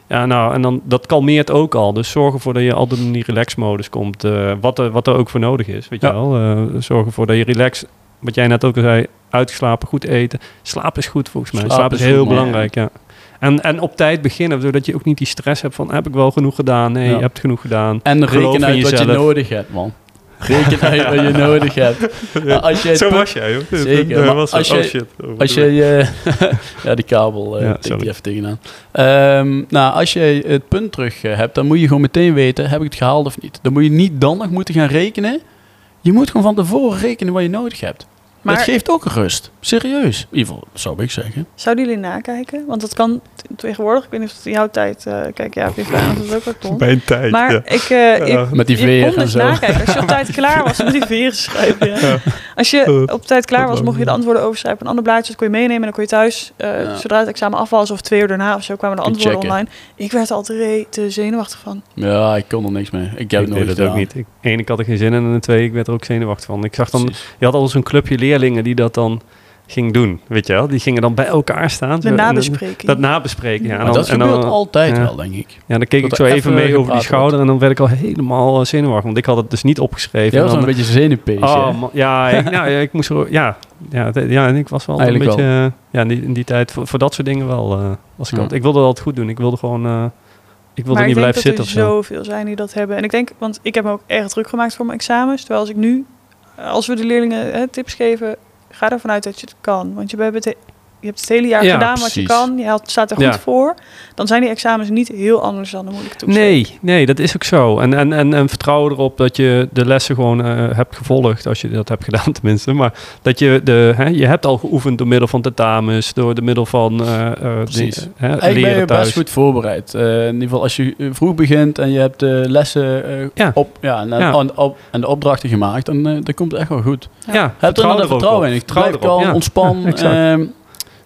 Speaker 1: ja, nou, en dan, dat kalmeert ook al. Dus zorg ervoor dat je altijd in die relax-modus komt. eh, wat, er, wat er ook voor nodig is, weet je
Speaker 2: Ja.
Speaker 1: wel. Eh, zorg ervoor dat je relax... Wat jij net ook al zei, uitgeslapen, goed eten. Slaap is goed volgens mij. Slaap,
Speaker 2: Slaap
Speaker 1: is,
Speaker 2: is goed,
Speaker 1: heel
Speaker 2: man.
Speaker 1: belangrijk, ja. En, en op tijd beginnen, zodat je ook niet die stress hebt van... heb ik wel genoeg gedaan? Nee,
Speaker 2: Ja.
Speaker 1: je hebt genoeg gedaan.
Speaker 2: En
Speaker 1: Geloof in
Speaker 2: reken uit wat je
Speaker 1: jezelf.
Speaker 2: nodig hebt, man. Reken uit
Speaker 1: [LAUGHS]
Speaker 2: wat je nodig hebt. Maar Als je, het punt-
Speaker 1: jij, hoor.
Speaker 2: Zeker,
Speaker 1: Dat
Speaker 2: maar
Speaker 1: was
Speaker 2: als
Speaker 1: het.
Speaker 2: je-
Speaker 1: shit. Oh,
Speaker 2: Als je, je- [LAUGHS] ja, die kabel, eh
Speaker 1: Ja,
Speaker 2: tik
Speaker 1: sorry.
Speaker 2: die even tegenaan. Ehm, nou, als je het punt terug eh, hebt, dan moet je gewoon meteen weten, heb ik het gehaald of niet. Dan moet je niet dan nog moeten gaan rekenen. Je moet gewoon van tevoren rekenen wat je nodig hebt.
Speaker 3: Maar
Speaker 2: dat geeft ook rust. Serieus. In ieder geval, zou ik zeggen.
Speaker 3: zouden jullie nakijken? Want dat kan t- tegenwoordig. Ik weet niet of het in jouw tijd... eh, kijk, ja, ik dat is ook wel ton.
Speaker 1: Bij een tijd,
Speaker 3: Maar
Speaker 1: ja. [LAUGHS]
Speaker 3: ik, eh, ik,
Speaker 1: Ja.
Speaker 2: Met die
Speaker 3: je kon
Speaker 2: veer en
Speaker 3: dus
Speaker 2: zo.
Speaker 3: nakijken. Als je op tijd klaar was, moet je veren schrijven. ja.
Speaker 1: Ja.
Speaker 3: Als je op tijd klaar
Speaker 1: dat
Speaker 3: was,
Speaker 1: wou
Speaker 3: mocht je
Speaker 1: ik
Speaker 3: de antwoorden overschrijven. Een ander blaadje, dat kon je meenemen en dan kon je thuis. eh,
Speaker 2: Ja.
Speaker 3: Zodra het examen af was of twee uur daarna of zo, kwamen de
Speaker 2: Kun je
Speaker 3: antwoorden
Speaker 2: checken.
Speaker 3: online. Ik werd er altijd re- te zenuwachtig van.
Speaker 2: Ja, ik kon er niks mee. Ik heb
Speaker 1: ik
Speaker 2: het nooit
Speaker 1: deed dat ook
Speaker 2: gedaan.
Speaker 1: niet. Ik, één, ik had er geen zin in en twee, ik werd er ook zenuwachtig van. Ik zag dan,
Speaker 2: Precies.
Speaker 1: je had al zo'n clubje leerlingen die dat dan ging doen, weet je wel. Die gingen dan bij elkaar staan.
Speaker 3: De
Speaker 1: Zo, en dan-
Speaker 3: nabespreking.
Speaker 1: Dat nabespreken, ja. En
Speaker 2: Maar
Speaker 1: dan,
Speaker 2: dat
Speaker 1: en
Speaker 2: gebeurt
Speaker 1: dan,
Speaker 2: altijd
Speaker 1: ja.
Speaker 2: wel, denk ik.
Speaker 1: Ja, dan keek
Speaker 2: dat
Speaker 1: ik zo
Speaker 2: er
Speaker 1: even
Speaker 2: even
Speaker 1: mee over die
Speaker 2: gepraat
Speaker 1: schouder en dan werd ik al helemaal eh, zenuwachtig. Want ik had het dus niet opgeschreven.
Speaker 2: Jij
Speaker 1: En
Speaker 2: was wel een
Speaker 1: dan-
Speaker 2: beetje zenuwpees.
Speaker 1: Oh, man, ja,
Speaker 2: [LAUGHS]
Speaker 1: ik, nou, ja, ik moest er, ja, ja, het- ja, en ik was wel
Speaker 2: Eigenlijk
Speaker 1: een beetje, eh, ja, in die, in die tijd voor, voor dat soort dingen wel. eh, was ik,
Speaker 2: Ja.
Speaker 1: altijd, ik wilde altijd goed doen. Ik wilde gewoon, eh, ik wilde
Speaker 3: maar
Speaker 1: niet
Speaker 3: ik denk
Speaker 1: blijven
Speaker 3: dat
Speaker 1: zitten of
Speaker 3: er
Speaker 1: zo.
Speaker 3: zoveel zijn die dat hebben. En ik denk, want ik heb me ook erg druk gemaakt voor mijn examens. Terwijl als ik nu, als we de leerlingen hè, tips geven, ga ervan uit dat je het kan. Want je hebt het, he- je hebt het hele jaar
Speaker 1: Ja,
Speaker 3: gedaan wat je
Speaker 2: precies.
Speaker 3: kan. Je had- staat er goed
Speaker 1: Ja.
Speaker 3: voor. Dan zijn die examens niet heel anders dan de moeilijke toetsen.
Speaker 1: Nee, nee, dat is ook zo. En, en, en, en vertrouwen erop dat je de lessen gewoon eh, hebt gevolgd, als je dat hebt gedaan [LAUGHS] tenminste. Maar dat je, de, hè, je hebt al geoefend door middel van tentamens, door de middel van eh, eh, dingen,
Speaker 2: Precies.
Speaker 1: hè,
Speaker 2: Ik ben
Speaker 1: leren
Speaker 2: je
Speaker 1: thuis.
Speaker 2: best goed voorbereid. Eh, in ieder geval als je eh, vroeg begint en je hebt de lessen eh,
Speaker 1: Ja.
Speaker 2: op, ja, en,
Speaker 1: Ja.
Speaker 2: en- op, en de opdrachten gemaakt, dan, eh, dan komt het echt wel goed.
Speaker 1: Ja,
Speaker 2: heb er dan
Speaker 1: vertrouw
Speaker 2: vertrouwen in. Ik
Speaker 1: Vertrouw
Speaker 2: blijf
Speaker 1: erop,
Speaker 2: kalm,
Speaker 1: ja.
Speaker 2: ontspan.
Speaker 1: Ja, [LAUGHS] exact.
Speaker 2: ehm,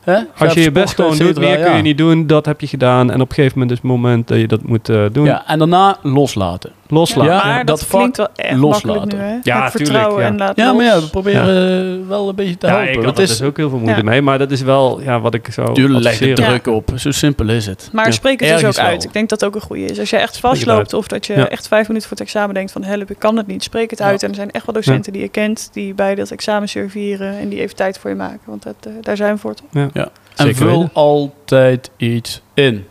Speaker 2: Hè? Ga
Speaker 1: Als je
Speaker 2: even
Speaker 1: je best
Speaker 2: sporten,
Speaker 1: gewoon
Speaker 2: et
Speaker 1: doet,
Speaker 2: cetera,
Speaker 1: meer kun
Speaker 2: ja.
Speaker 1: je niet doen. Dat heb je gedaan. En op een gegeven moment is het moment dat je dat moet eh, doen.
Speaker 2: Ja, en daarna loslaten.
Speaker 1: Loslaten.
Speaker 2: Ja,
Speaker 1: Ja,
Speaker 3: maar
Speaker 2: dat
Speaker 3: dat, klinkt wel echt makkelijk
Speaker 2: loslaten.
Speaker 3: nu, hè?
Speaker 1: Ja, tuurlijk,
Speaker 3: Met vertrouwen
Speaker 1: ja.
Speaker 3: en laat
Speaker 2: Ja,
Speaker 3: los.
Speaker 2: maar ja, we proberen eh, wel een beetje te helpen.
Speaker 1: ik had
Speaker 2: Het
Speaker 1: er
Speaker 2: is
Speaker 1: dus ook heel veel moeite
Speaker 3: Ja.
Speaker 1: mee. Maar dat is wel ja, wat ik zou
Speaker 2: natuurlijk leg de
Speaker 1: adviseren.
Speaker 2: druk op. Zo simpel is het.
Speaker 3: Maar
Speaker 1: Ja,
Speaker 3: spreek het dus ook
Speaker 2: ergens wel.
Speaker 3: uit. Ik denk dat dat ook een goede is. Als je echt
Speaker 1: het
Speaker 3: vastloopt
Speaker 1: uit.
Speaker 3: of dat je
Speaker 1: Ja.
Speaker 3: echt vijf minuten voor het examen denkt van help, ik kan het niet. Spreek het
Speaker 2: Ja.
Speaker 3: uit. En er zijn echt wel docenten die je kent die bij dat examen surviveren en die even tijd voor je maken. Want dat, eh, daar zijn we voor. toch?
Speaker 2: En
Speaker 1: Zeker
Speaker 2: vul
Speaker 1: weten.
Speaker 2: altijd iets in.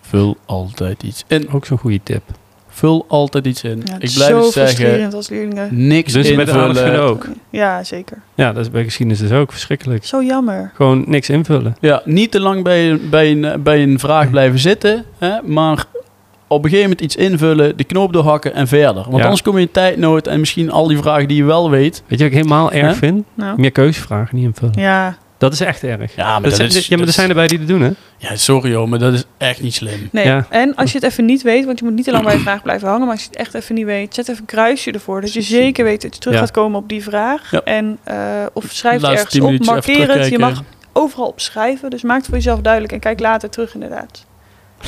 Speaker 2: Vul altijd iets in.
Speaker 1: Ook zo'n goede tip.
Speaker 2: Vul altijd iets in.
Speaker 3: Ja, het
Speaker 2: ik
Speaker 3: is
Speaker 2: blijf
Speaker 3: zo
Speaker 2: het zeggen.
Speaker 3: frustrerend als leerlingen.
Speaker 2: Niks
Speaker 1: Dus met de aardrijkskunde
Speaker 2: invullen.
Speaker 1: ook.
Speaker 3: Ja, zeker.
Speaker 1: Ja, dat is bij geschiedenis dus ook verschrikkelijk.
Speaker 3: Zo jammer.
Speaker 1: Gewoon niks invullen.
Speaker 2: Ja, niet te lang bij, bij, een, bij een vraag blijven zitten. Hè, maar op een gegeven moment iets invullen, de knoop doorhakken en verder. Want
Speaker 1: Ja.
Speaker 2: anders kom je in tijdnood en misschien al die vragen die je wel weet.
Speaker 1: Weet je wat ik helemaal erg
Speaker 2: Hè?
Speaker 1: vind?
Speaker 3: Nou,
Speaker 1: Meer keuzevragen niet invullen.
Speaker 3: ja.
Speaker 1: Dat is echt erg.
Speaker 2: Ja, maar
Speaker 1: Dat zijn- ja, maar er zijn erbij die dat doen, hè?
Speaker 2: Ja, sorry hoor, maar dat is echt niet slim.
Speaker 3: Nee.
Speaker 1: Ja.
Speaker 3: En als je het even niet weet, want je moet niet te lang bij een vraag blijven hangen, maar als je het echt even niet weet, zet even een kruisje ervoor. Dat je zeker weet dat je terug
Speaker 1: Ja.
Speaker 3: gaat komen op die vraag.
Speaker 2: Ja.
Speaker 3: En, eh, of schrijf het
Speaker 2: Laatste
Speaker 3: ergens
Speaker 2: 10
Speaker 3: op,
Speaker 2: minuutjes even
Speaker 3: markeer het. Je
Speaker 2: terugkijken.
Speaker 3: mag overal op schrijven. Dus maak het voor jezelf duidelijk en kijk later terug inderdaad.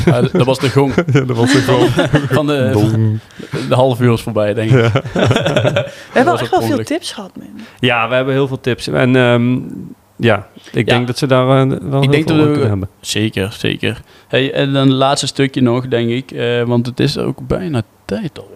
Speaker 2: Ja, dat- dat was de
Speaker 3: [LAUGHS]
Speaker 2: gong
Speaker 1: dat [LAUGHS] was
Speaker 2: van de, van de half uur is voorbij, denk ik.
Speaker 3: We hebben wel
Speaker 2: was
Speaker 3: echt wel
Speaker 2: ook
Speaker 3: veel
Speaker 2: ongeluk.
Speaker 3: tips gehad, man.
Speaker 1: Ja, we hebben heel veel tips. En ehm, ja, ik
Speaker 2: Ja.
Speaker 1: denk dat ze daar eh, wel heel
Speaker 2: denk
Speaker 1: veel
Speaker 2: dat
Speaker 1: aan
Speaker 2: we-
Speaker 1: kunnen hebben.
Speaker 2: Zeker, zeker. Hey, en dan het laatste stukje nog, denk ik. eh, want het is ook bijna tijd alweer.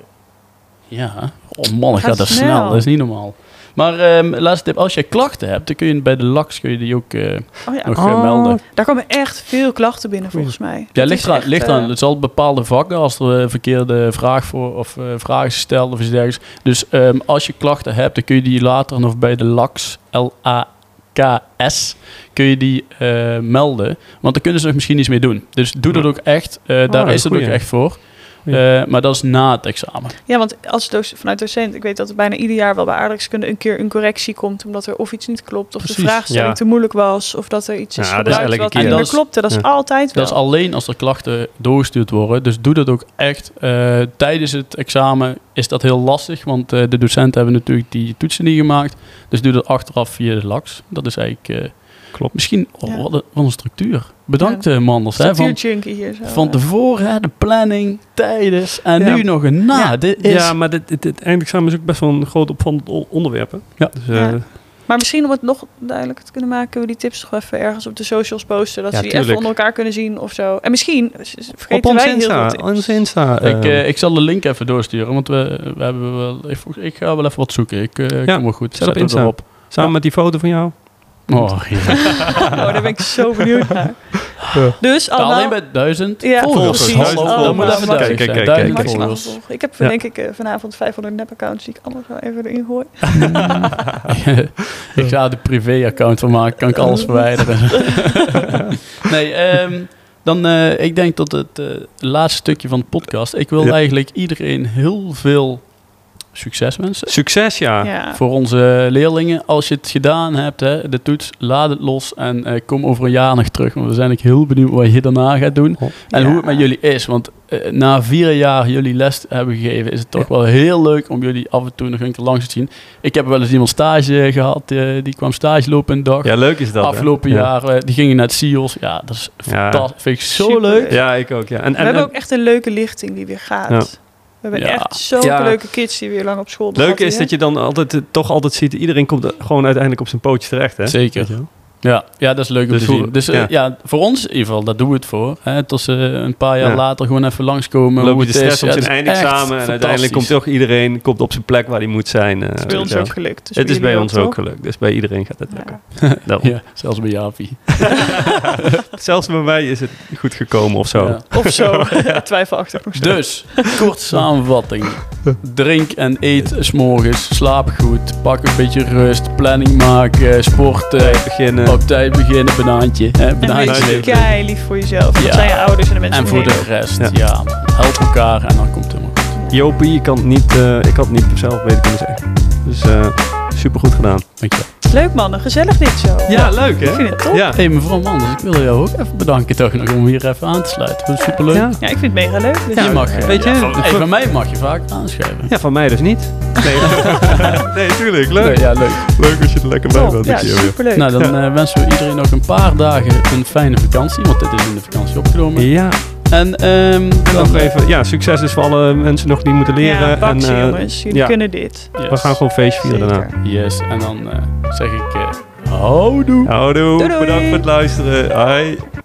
Speaker 2: Ja. Oh man, het
Speaker 3: Gaat
Speaker 2: gaat er snel.
Speaker 3: snel.
Speaker 2: Dat is niet normaal. Maar ehm, laatste tip. Als je klachten hebt, dan kun je bij de LAX kun je die ook eh,
Speaker 3: Oh ja,
Speaker 2: nog eh, melden.
Speaker 3: daar komen echt veel klachten binnen volgens mij.
Speaker 2: Ja,
Speaker 3: Dat
Speaker 2: ligt
Speaker 3: is
Speaker 2: eraan.
Speaker 3: echt,
Speaker 2: ligt
Speaker 3: eh,
Speaker 2: eraan. Het zal bepaalde vakken als er eh, verkeerde vraag voor of eh, vragen is gesteld of iets dergelijks. Dus ehm, als je klachten hebt, dan kun je die later nog bij de LAX, L-A-K-S, kun je die eh, melden. Want dan kunnen ze er misschien iets mee doen. Dus doe dat
Speaker 1: Ja.
Speaker 2: ook echt. Eh,
Speaker 1: Ah,
Speaker 2: daar
Speaker 1: dat
Speaker 2: is
Speaker 1: is
Speaker 2: het ook
Speaker 1: goeie.
Speaker 2: echt voor.
Speaker 1: Ja.
Speaker 2: Eh, maar dat is na het examen.
Speaker 3: Ja, want als doc- vanuit docent, ik weet dat er bijna ieder jaar wel bij aardrijkskunde een keer een correctie komt, omdat er of iets niet klopt, of de
Speaker 2: Precies,
Speaker 3: vraagstelling
Speaker 1: ja.
Speaker 3: te moeilijk was, of dat er iets is
Speaker 1: Ja, dat is
Speaker 3: gebruikt
Speaker 1: elke
Speaker 3: wat
Speaker 1: keer.
Speaker 3: niet
Speaker 2: En
Speaker 3: meer
Speaker 2: dat is-
Speaker 3: klopte. Dat is
Speaker 1: ja.
Speaker 3: altijd wel.
Speaker 2: Dat is alleen als er klachten doorgestuurd worden. Dus doe dat ook echt. eh, tijdens het examen is dat heel lastig, want eh, de docenten hebben natuurlijk die toetsen niet gemaakt. Dus doe dat achteraf via de LAX. Dat is eigenlijk... eh,
Speaker 1: Klopt.
Speaker 2: Misschien, oh,
Speaker 3: Ja.
Speaker 2: wat, een, wat een structuur. Bedankt eh, Manders. Hè, van,
Speaker 3: Structuurjunkie hier zo.
Speaker 2: van tevoren hè, de planning, tijdens en
Speaker 1: Ja.
Speaker 2: nu nog een na. Dit is,
Speaker 1: Ja, maar dit, dit, dit eindexamen is ook best wel een groot opvallend o- onderwerp. Hè?
Speaker 2: Ja.
Speaker 1: Dus,
Speaker 3: Ja.
Speaker 1: eh,
Speaker 3: Maar misschien om het nog duidelijker te kunnen maken, kunnen we die tips toch even ergens op de socials posten, dat
Speaker 1: Ja,
Speaker 3: ze die even
Speaker 1: tuurlijk.
Speaker 3: onder elkaar kunnen zien of zo. En misschien eh, vergeten
Speaker 1: op ons
Speaker 3: wij heel
Speaker 1: Insta.
Speaker 3: veel tips.
Speaker 1: Ons Insta
Speaker 2: ik,
Speaker 1: eh,
Speaker 2: eh, ik zal de link even doorsturen, want we, we hebben wel, ik, ik ga wel even wat zoeken. Ik eh,
Speaker 1: Ja,
Speaker 2: kom wel goed.
Speaker 1: zet op
Speaker 2: het
Speaker 1: Insta.
Speaker 2: erop.
Speaker 1: samen
Speaker 2: ja.
Speaker 1: met die foto van jou.
Speaker 2: Oh, ja.
Speaker 3: [LAUGHS] Oh, daar ben ik zo benieuwd naar. Dus allemaal...
Speaker 2: Alleen bij duizend
Speaker 3: Ja,
Speaker 2: Oh, volgers.
Speaker 1: precies.
Speaker 2: Hallo,
Speaker 1: Duizend
Speaker 2: dat moet
Speaker 1: volgers.
Speaker 2: even duidelijk
Speaker 1: Kijk,
Speaker 2: zijn.
Speaker 1: kijk,
Speaker 2: Duizend
Speaker 1: kijk,
Speaker 3: Maximaal
Speaker 2: volgers. [LAUGHS]
Speaker 3: gevolg. Ik heb
Speaker 1: Ja.
Speaker 3: denk ik eh, vanavond 500 nep-accounts die ik allemaal wel even erin gooi.
Speaker 2: ik ga de privé-account van maken, kan ik [LAUGHS] alles verwijderen. nee, ehm, dan eh, ik denk dat het eh, laatste stukje van de podcast. Ik wil
Speaker 1: Ja.
Speaker 2: eigenlijk iedereen heel veel succes wensen.
Speaker 1: Succes, ja.
Speaker 3: Ja.
Speaker 2: Voor onze leerlingen, als je het gedaan hebt, hè, de toets, laat het los en eh, kom over een jaar nog terug. Want we zijn ik heel benieuwd wat je daarna gaat doen. En
Speaker 3: Ja.
Speaker 2: hoe het met jullie is. Want eh, na vier jaar jullie les te hebben gegeven, is het toch wel heel leuk om jullie af en toe nog een keer langs te zien. Ik heb wel eens iemand stage gehad, eh, die kwam stage lopen een dag.
Speaker 1: Ja, leuk is dat. hè?
Speaker 2: Afgelopen
Speaker 1: Ja.
Speaker 2: jaar, eh, die gingen naar het SIOS. Ja, dat is fantastisch. Vind ik zo
Speaker 3: Super.
Speaker 2: leuk.
Speaker 1: Ja, ik ook. Ja. En,
Speaker 3: We
Speaker 1: en,
Speaker 3: hebben
Speaker 1: en-
Speaker 3: ook echt een leuke lichting die weer gaat.
Speaker 1: Ja.
Speaker 3: We hebben
Speaker 2: Ja.
Speaker 3: echt zulke
Speaker 1: Ja.
Speaker 3: leuke kids die weer lang op school
Speaker 1: het leuke is dat je dan altijd, eh, toch altijd ziet, iedereen komt er gewoon uiteindelijk op zijn pootje terecht. Hè?
Speaker 2: Zeker.
Speaker 1: Weet je wel?
Speaker 2: Ja, ja, dat is leuk om
Speaker 1: Dus
Speaker 2: te
Speaker 1: hoe-
Speaker 2: zien. Dus eh,
Speaker 1: ja.
Speaker 2: ja. voor ons in ieder geval, daar doen we het voor. Hè, tot ze eh, een paar jaar
Speaker 1: Ja.
Speaker 2: later gewoon even langskomen.
Speaker 1: Loop
Speaker 2: hoe
Speaker 1: je
Speaker 2: het
Speaker 1: de
Speaker 2: is.
Speaker 1: stress
Speaker 2: Ja,
Speaker 1: op zijn
Speaker 2: het is echt
Speaker 1: eindexamen en uiteindelijk komt
Speaker 2: fantastisch.
Speaker 1: toch iedereen komt op zijn plek waar hij moet zijn. eh,
Speaker 3: Het is bij
Speaker 1: weet
Speaker 3: ons
Speaker 1: je wel.
Speaker 3: ook gelukt. Dus
Speaker 1: Het is bij
Speaker 3: jullie
Speaker 1: ons ook
Speaker 3: toch?
Speaker 1: gelukt, dus bij iedereen gaat het lukken. Daarom.
Speaker 2: Ja, zelfs bij Javi.
Speaker 1: Zelfs bij mij is het goed gekomen of zo.
Speaker 2: Ja.
Speaker 3: Ja. Of
Speaker 1: [LAUGHS]
Speaker 3: zo. Ja, Twijfelachtig nog steeds.
Speaker 2: Dus, kort samenvatting. Drink en eet s'morgens. Slaap goed. Pak een beetje rust. Planning maken. Sporten.
Speaker 1: Beginnen.
Speaker 2: Op tijd beginnen. Banaantje. Hè,
Speaker 3: En
Speaker 2: banaantje.
Speaker 3: wees
Speaker 1: leven.
Speaker 3: kei lief voor jezelf.
Speaker 2: Ja.
Speaker 3: Dat zijn je ouders en de mensen
Speaker 2: En
Speaker 3: om
Speaker 2: voor
Speaker 3: je
Speaker 2: de
Speaker 3: heen.
Speaker 2: rest, ja.
Speaker 1: Ja.
Speaker 2: help elkaar en dan komt het helemaal goed.
Speaker 1: Jopie, ik kan het niet, eh, ik had het niet zelf beter kunnen zeggen. Dus eh super goed gedaan.
Speaker 2: Dankjewel.
Speaker 3: Leuk mannen, gezellig dit zo.
Speaker 1: Ja, leuk
Speaker 3: Ik
Speaker 1: hè?
Speaker 3: vind het top. Ja,
Speaker 1: Ja.
Speaker 2: Hey mevrouw Manders, ik wil jou ook even bedanken toch nog om hier even aan te sluiten. Vond het superleuk.
Speaker 1: Ja.
Speaker 3: ik vind het mega leuk. Dus
Speaker 2: je mag, eh,
Speaker 1: weet je,
Speaker 2: ja, van, hey,
Speaker 1: voor-
Speaker 2: van mij mag je vaak aanschrijven.
Speaker 1: ja, van mij dus niet.
Speaker 2: [LAUGHS]
Speaker 1: Nee, nee tuurlijk. Leuk.
Speaker 2: Nee, ja, leuk.
Speaker 1: Leuk als je er lekker bij
Speaker 3: top.
Speaker 1: bent.
Speaker 3: Ja,
Speaker 1: dit keer weer.
Speaker 3: superleuk.
Speaker 2: Nou, dan eh, wensen we iedereen nog een paar dagen een fijne vakantie, want dit is in de vakantie opgenomen.
Speaker 1: Ja,
Speaker 2: En, ehm
Speaker 1: en
Speaker 2: dan,
Speaker 1: nog even. Ja, succes dus voor alle mensen nog die moeten leren.
Speaker 3: ja,
Speaker 1: en
Speaker 3: baksen
Speaker 1: eh,
Speaker 3: jongens. Jullie
Speaker 1: ja.
Speaker 3: kunnen dit.
Speaker 2: yes.
Speaker 1: we gaan gewoon feest vieren daarna.
Speaker 3: Zeker.
Speaker 2: eh, Yes, en dan eh, zeg ik eh houdoe.
Speaker 1: Houdoe. Nou,
Speaker 3: Doei, doei.
Speaker 1: Bedankt voor het luisteren. Hoi.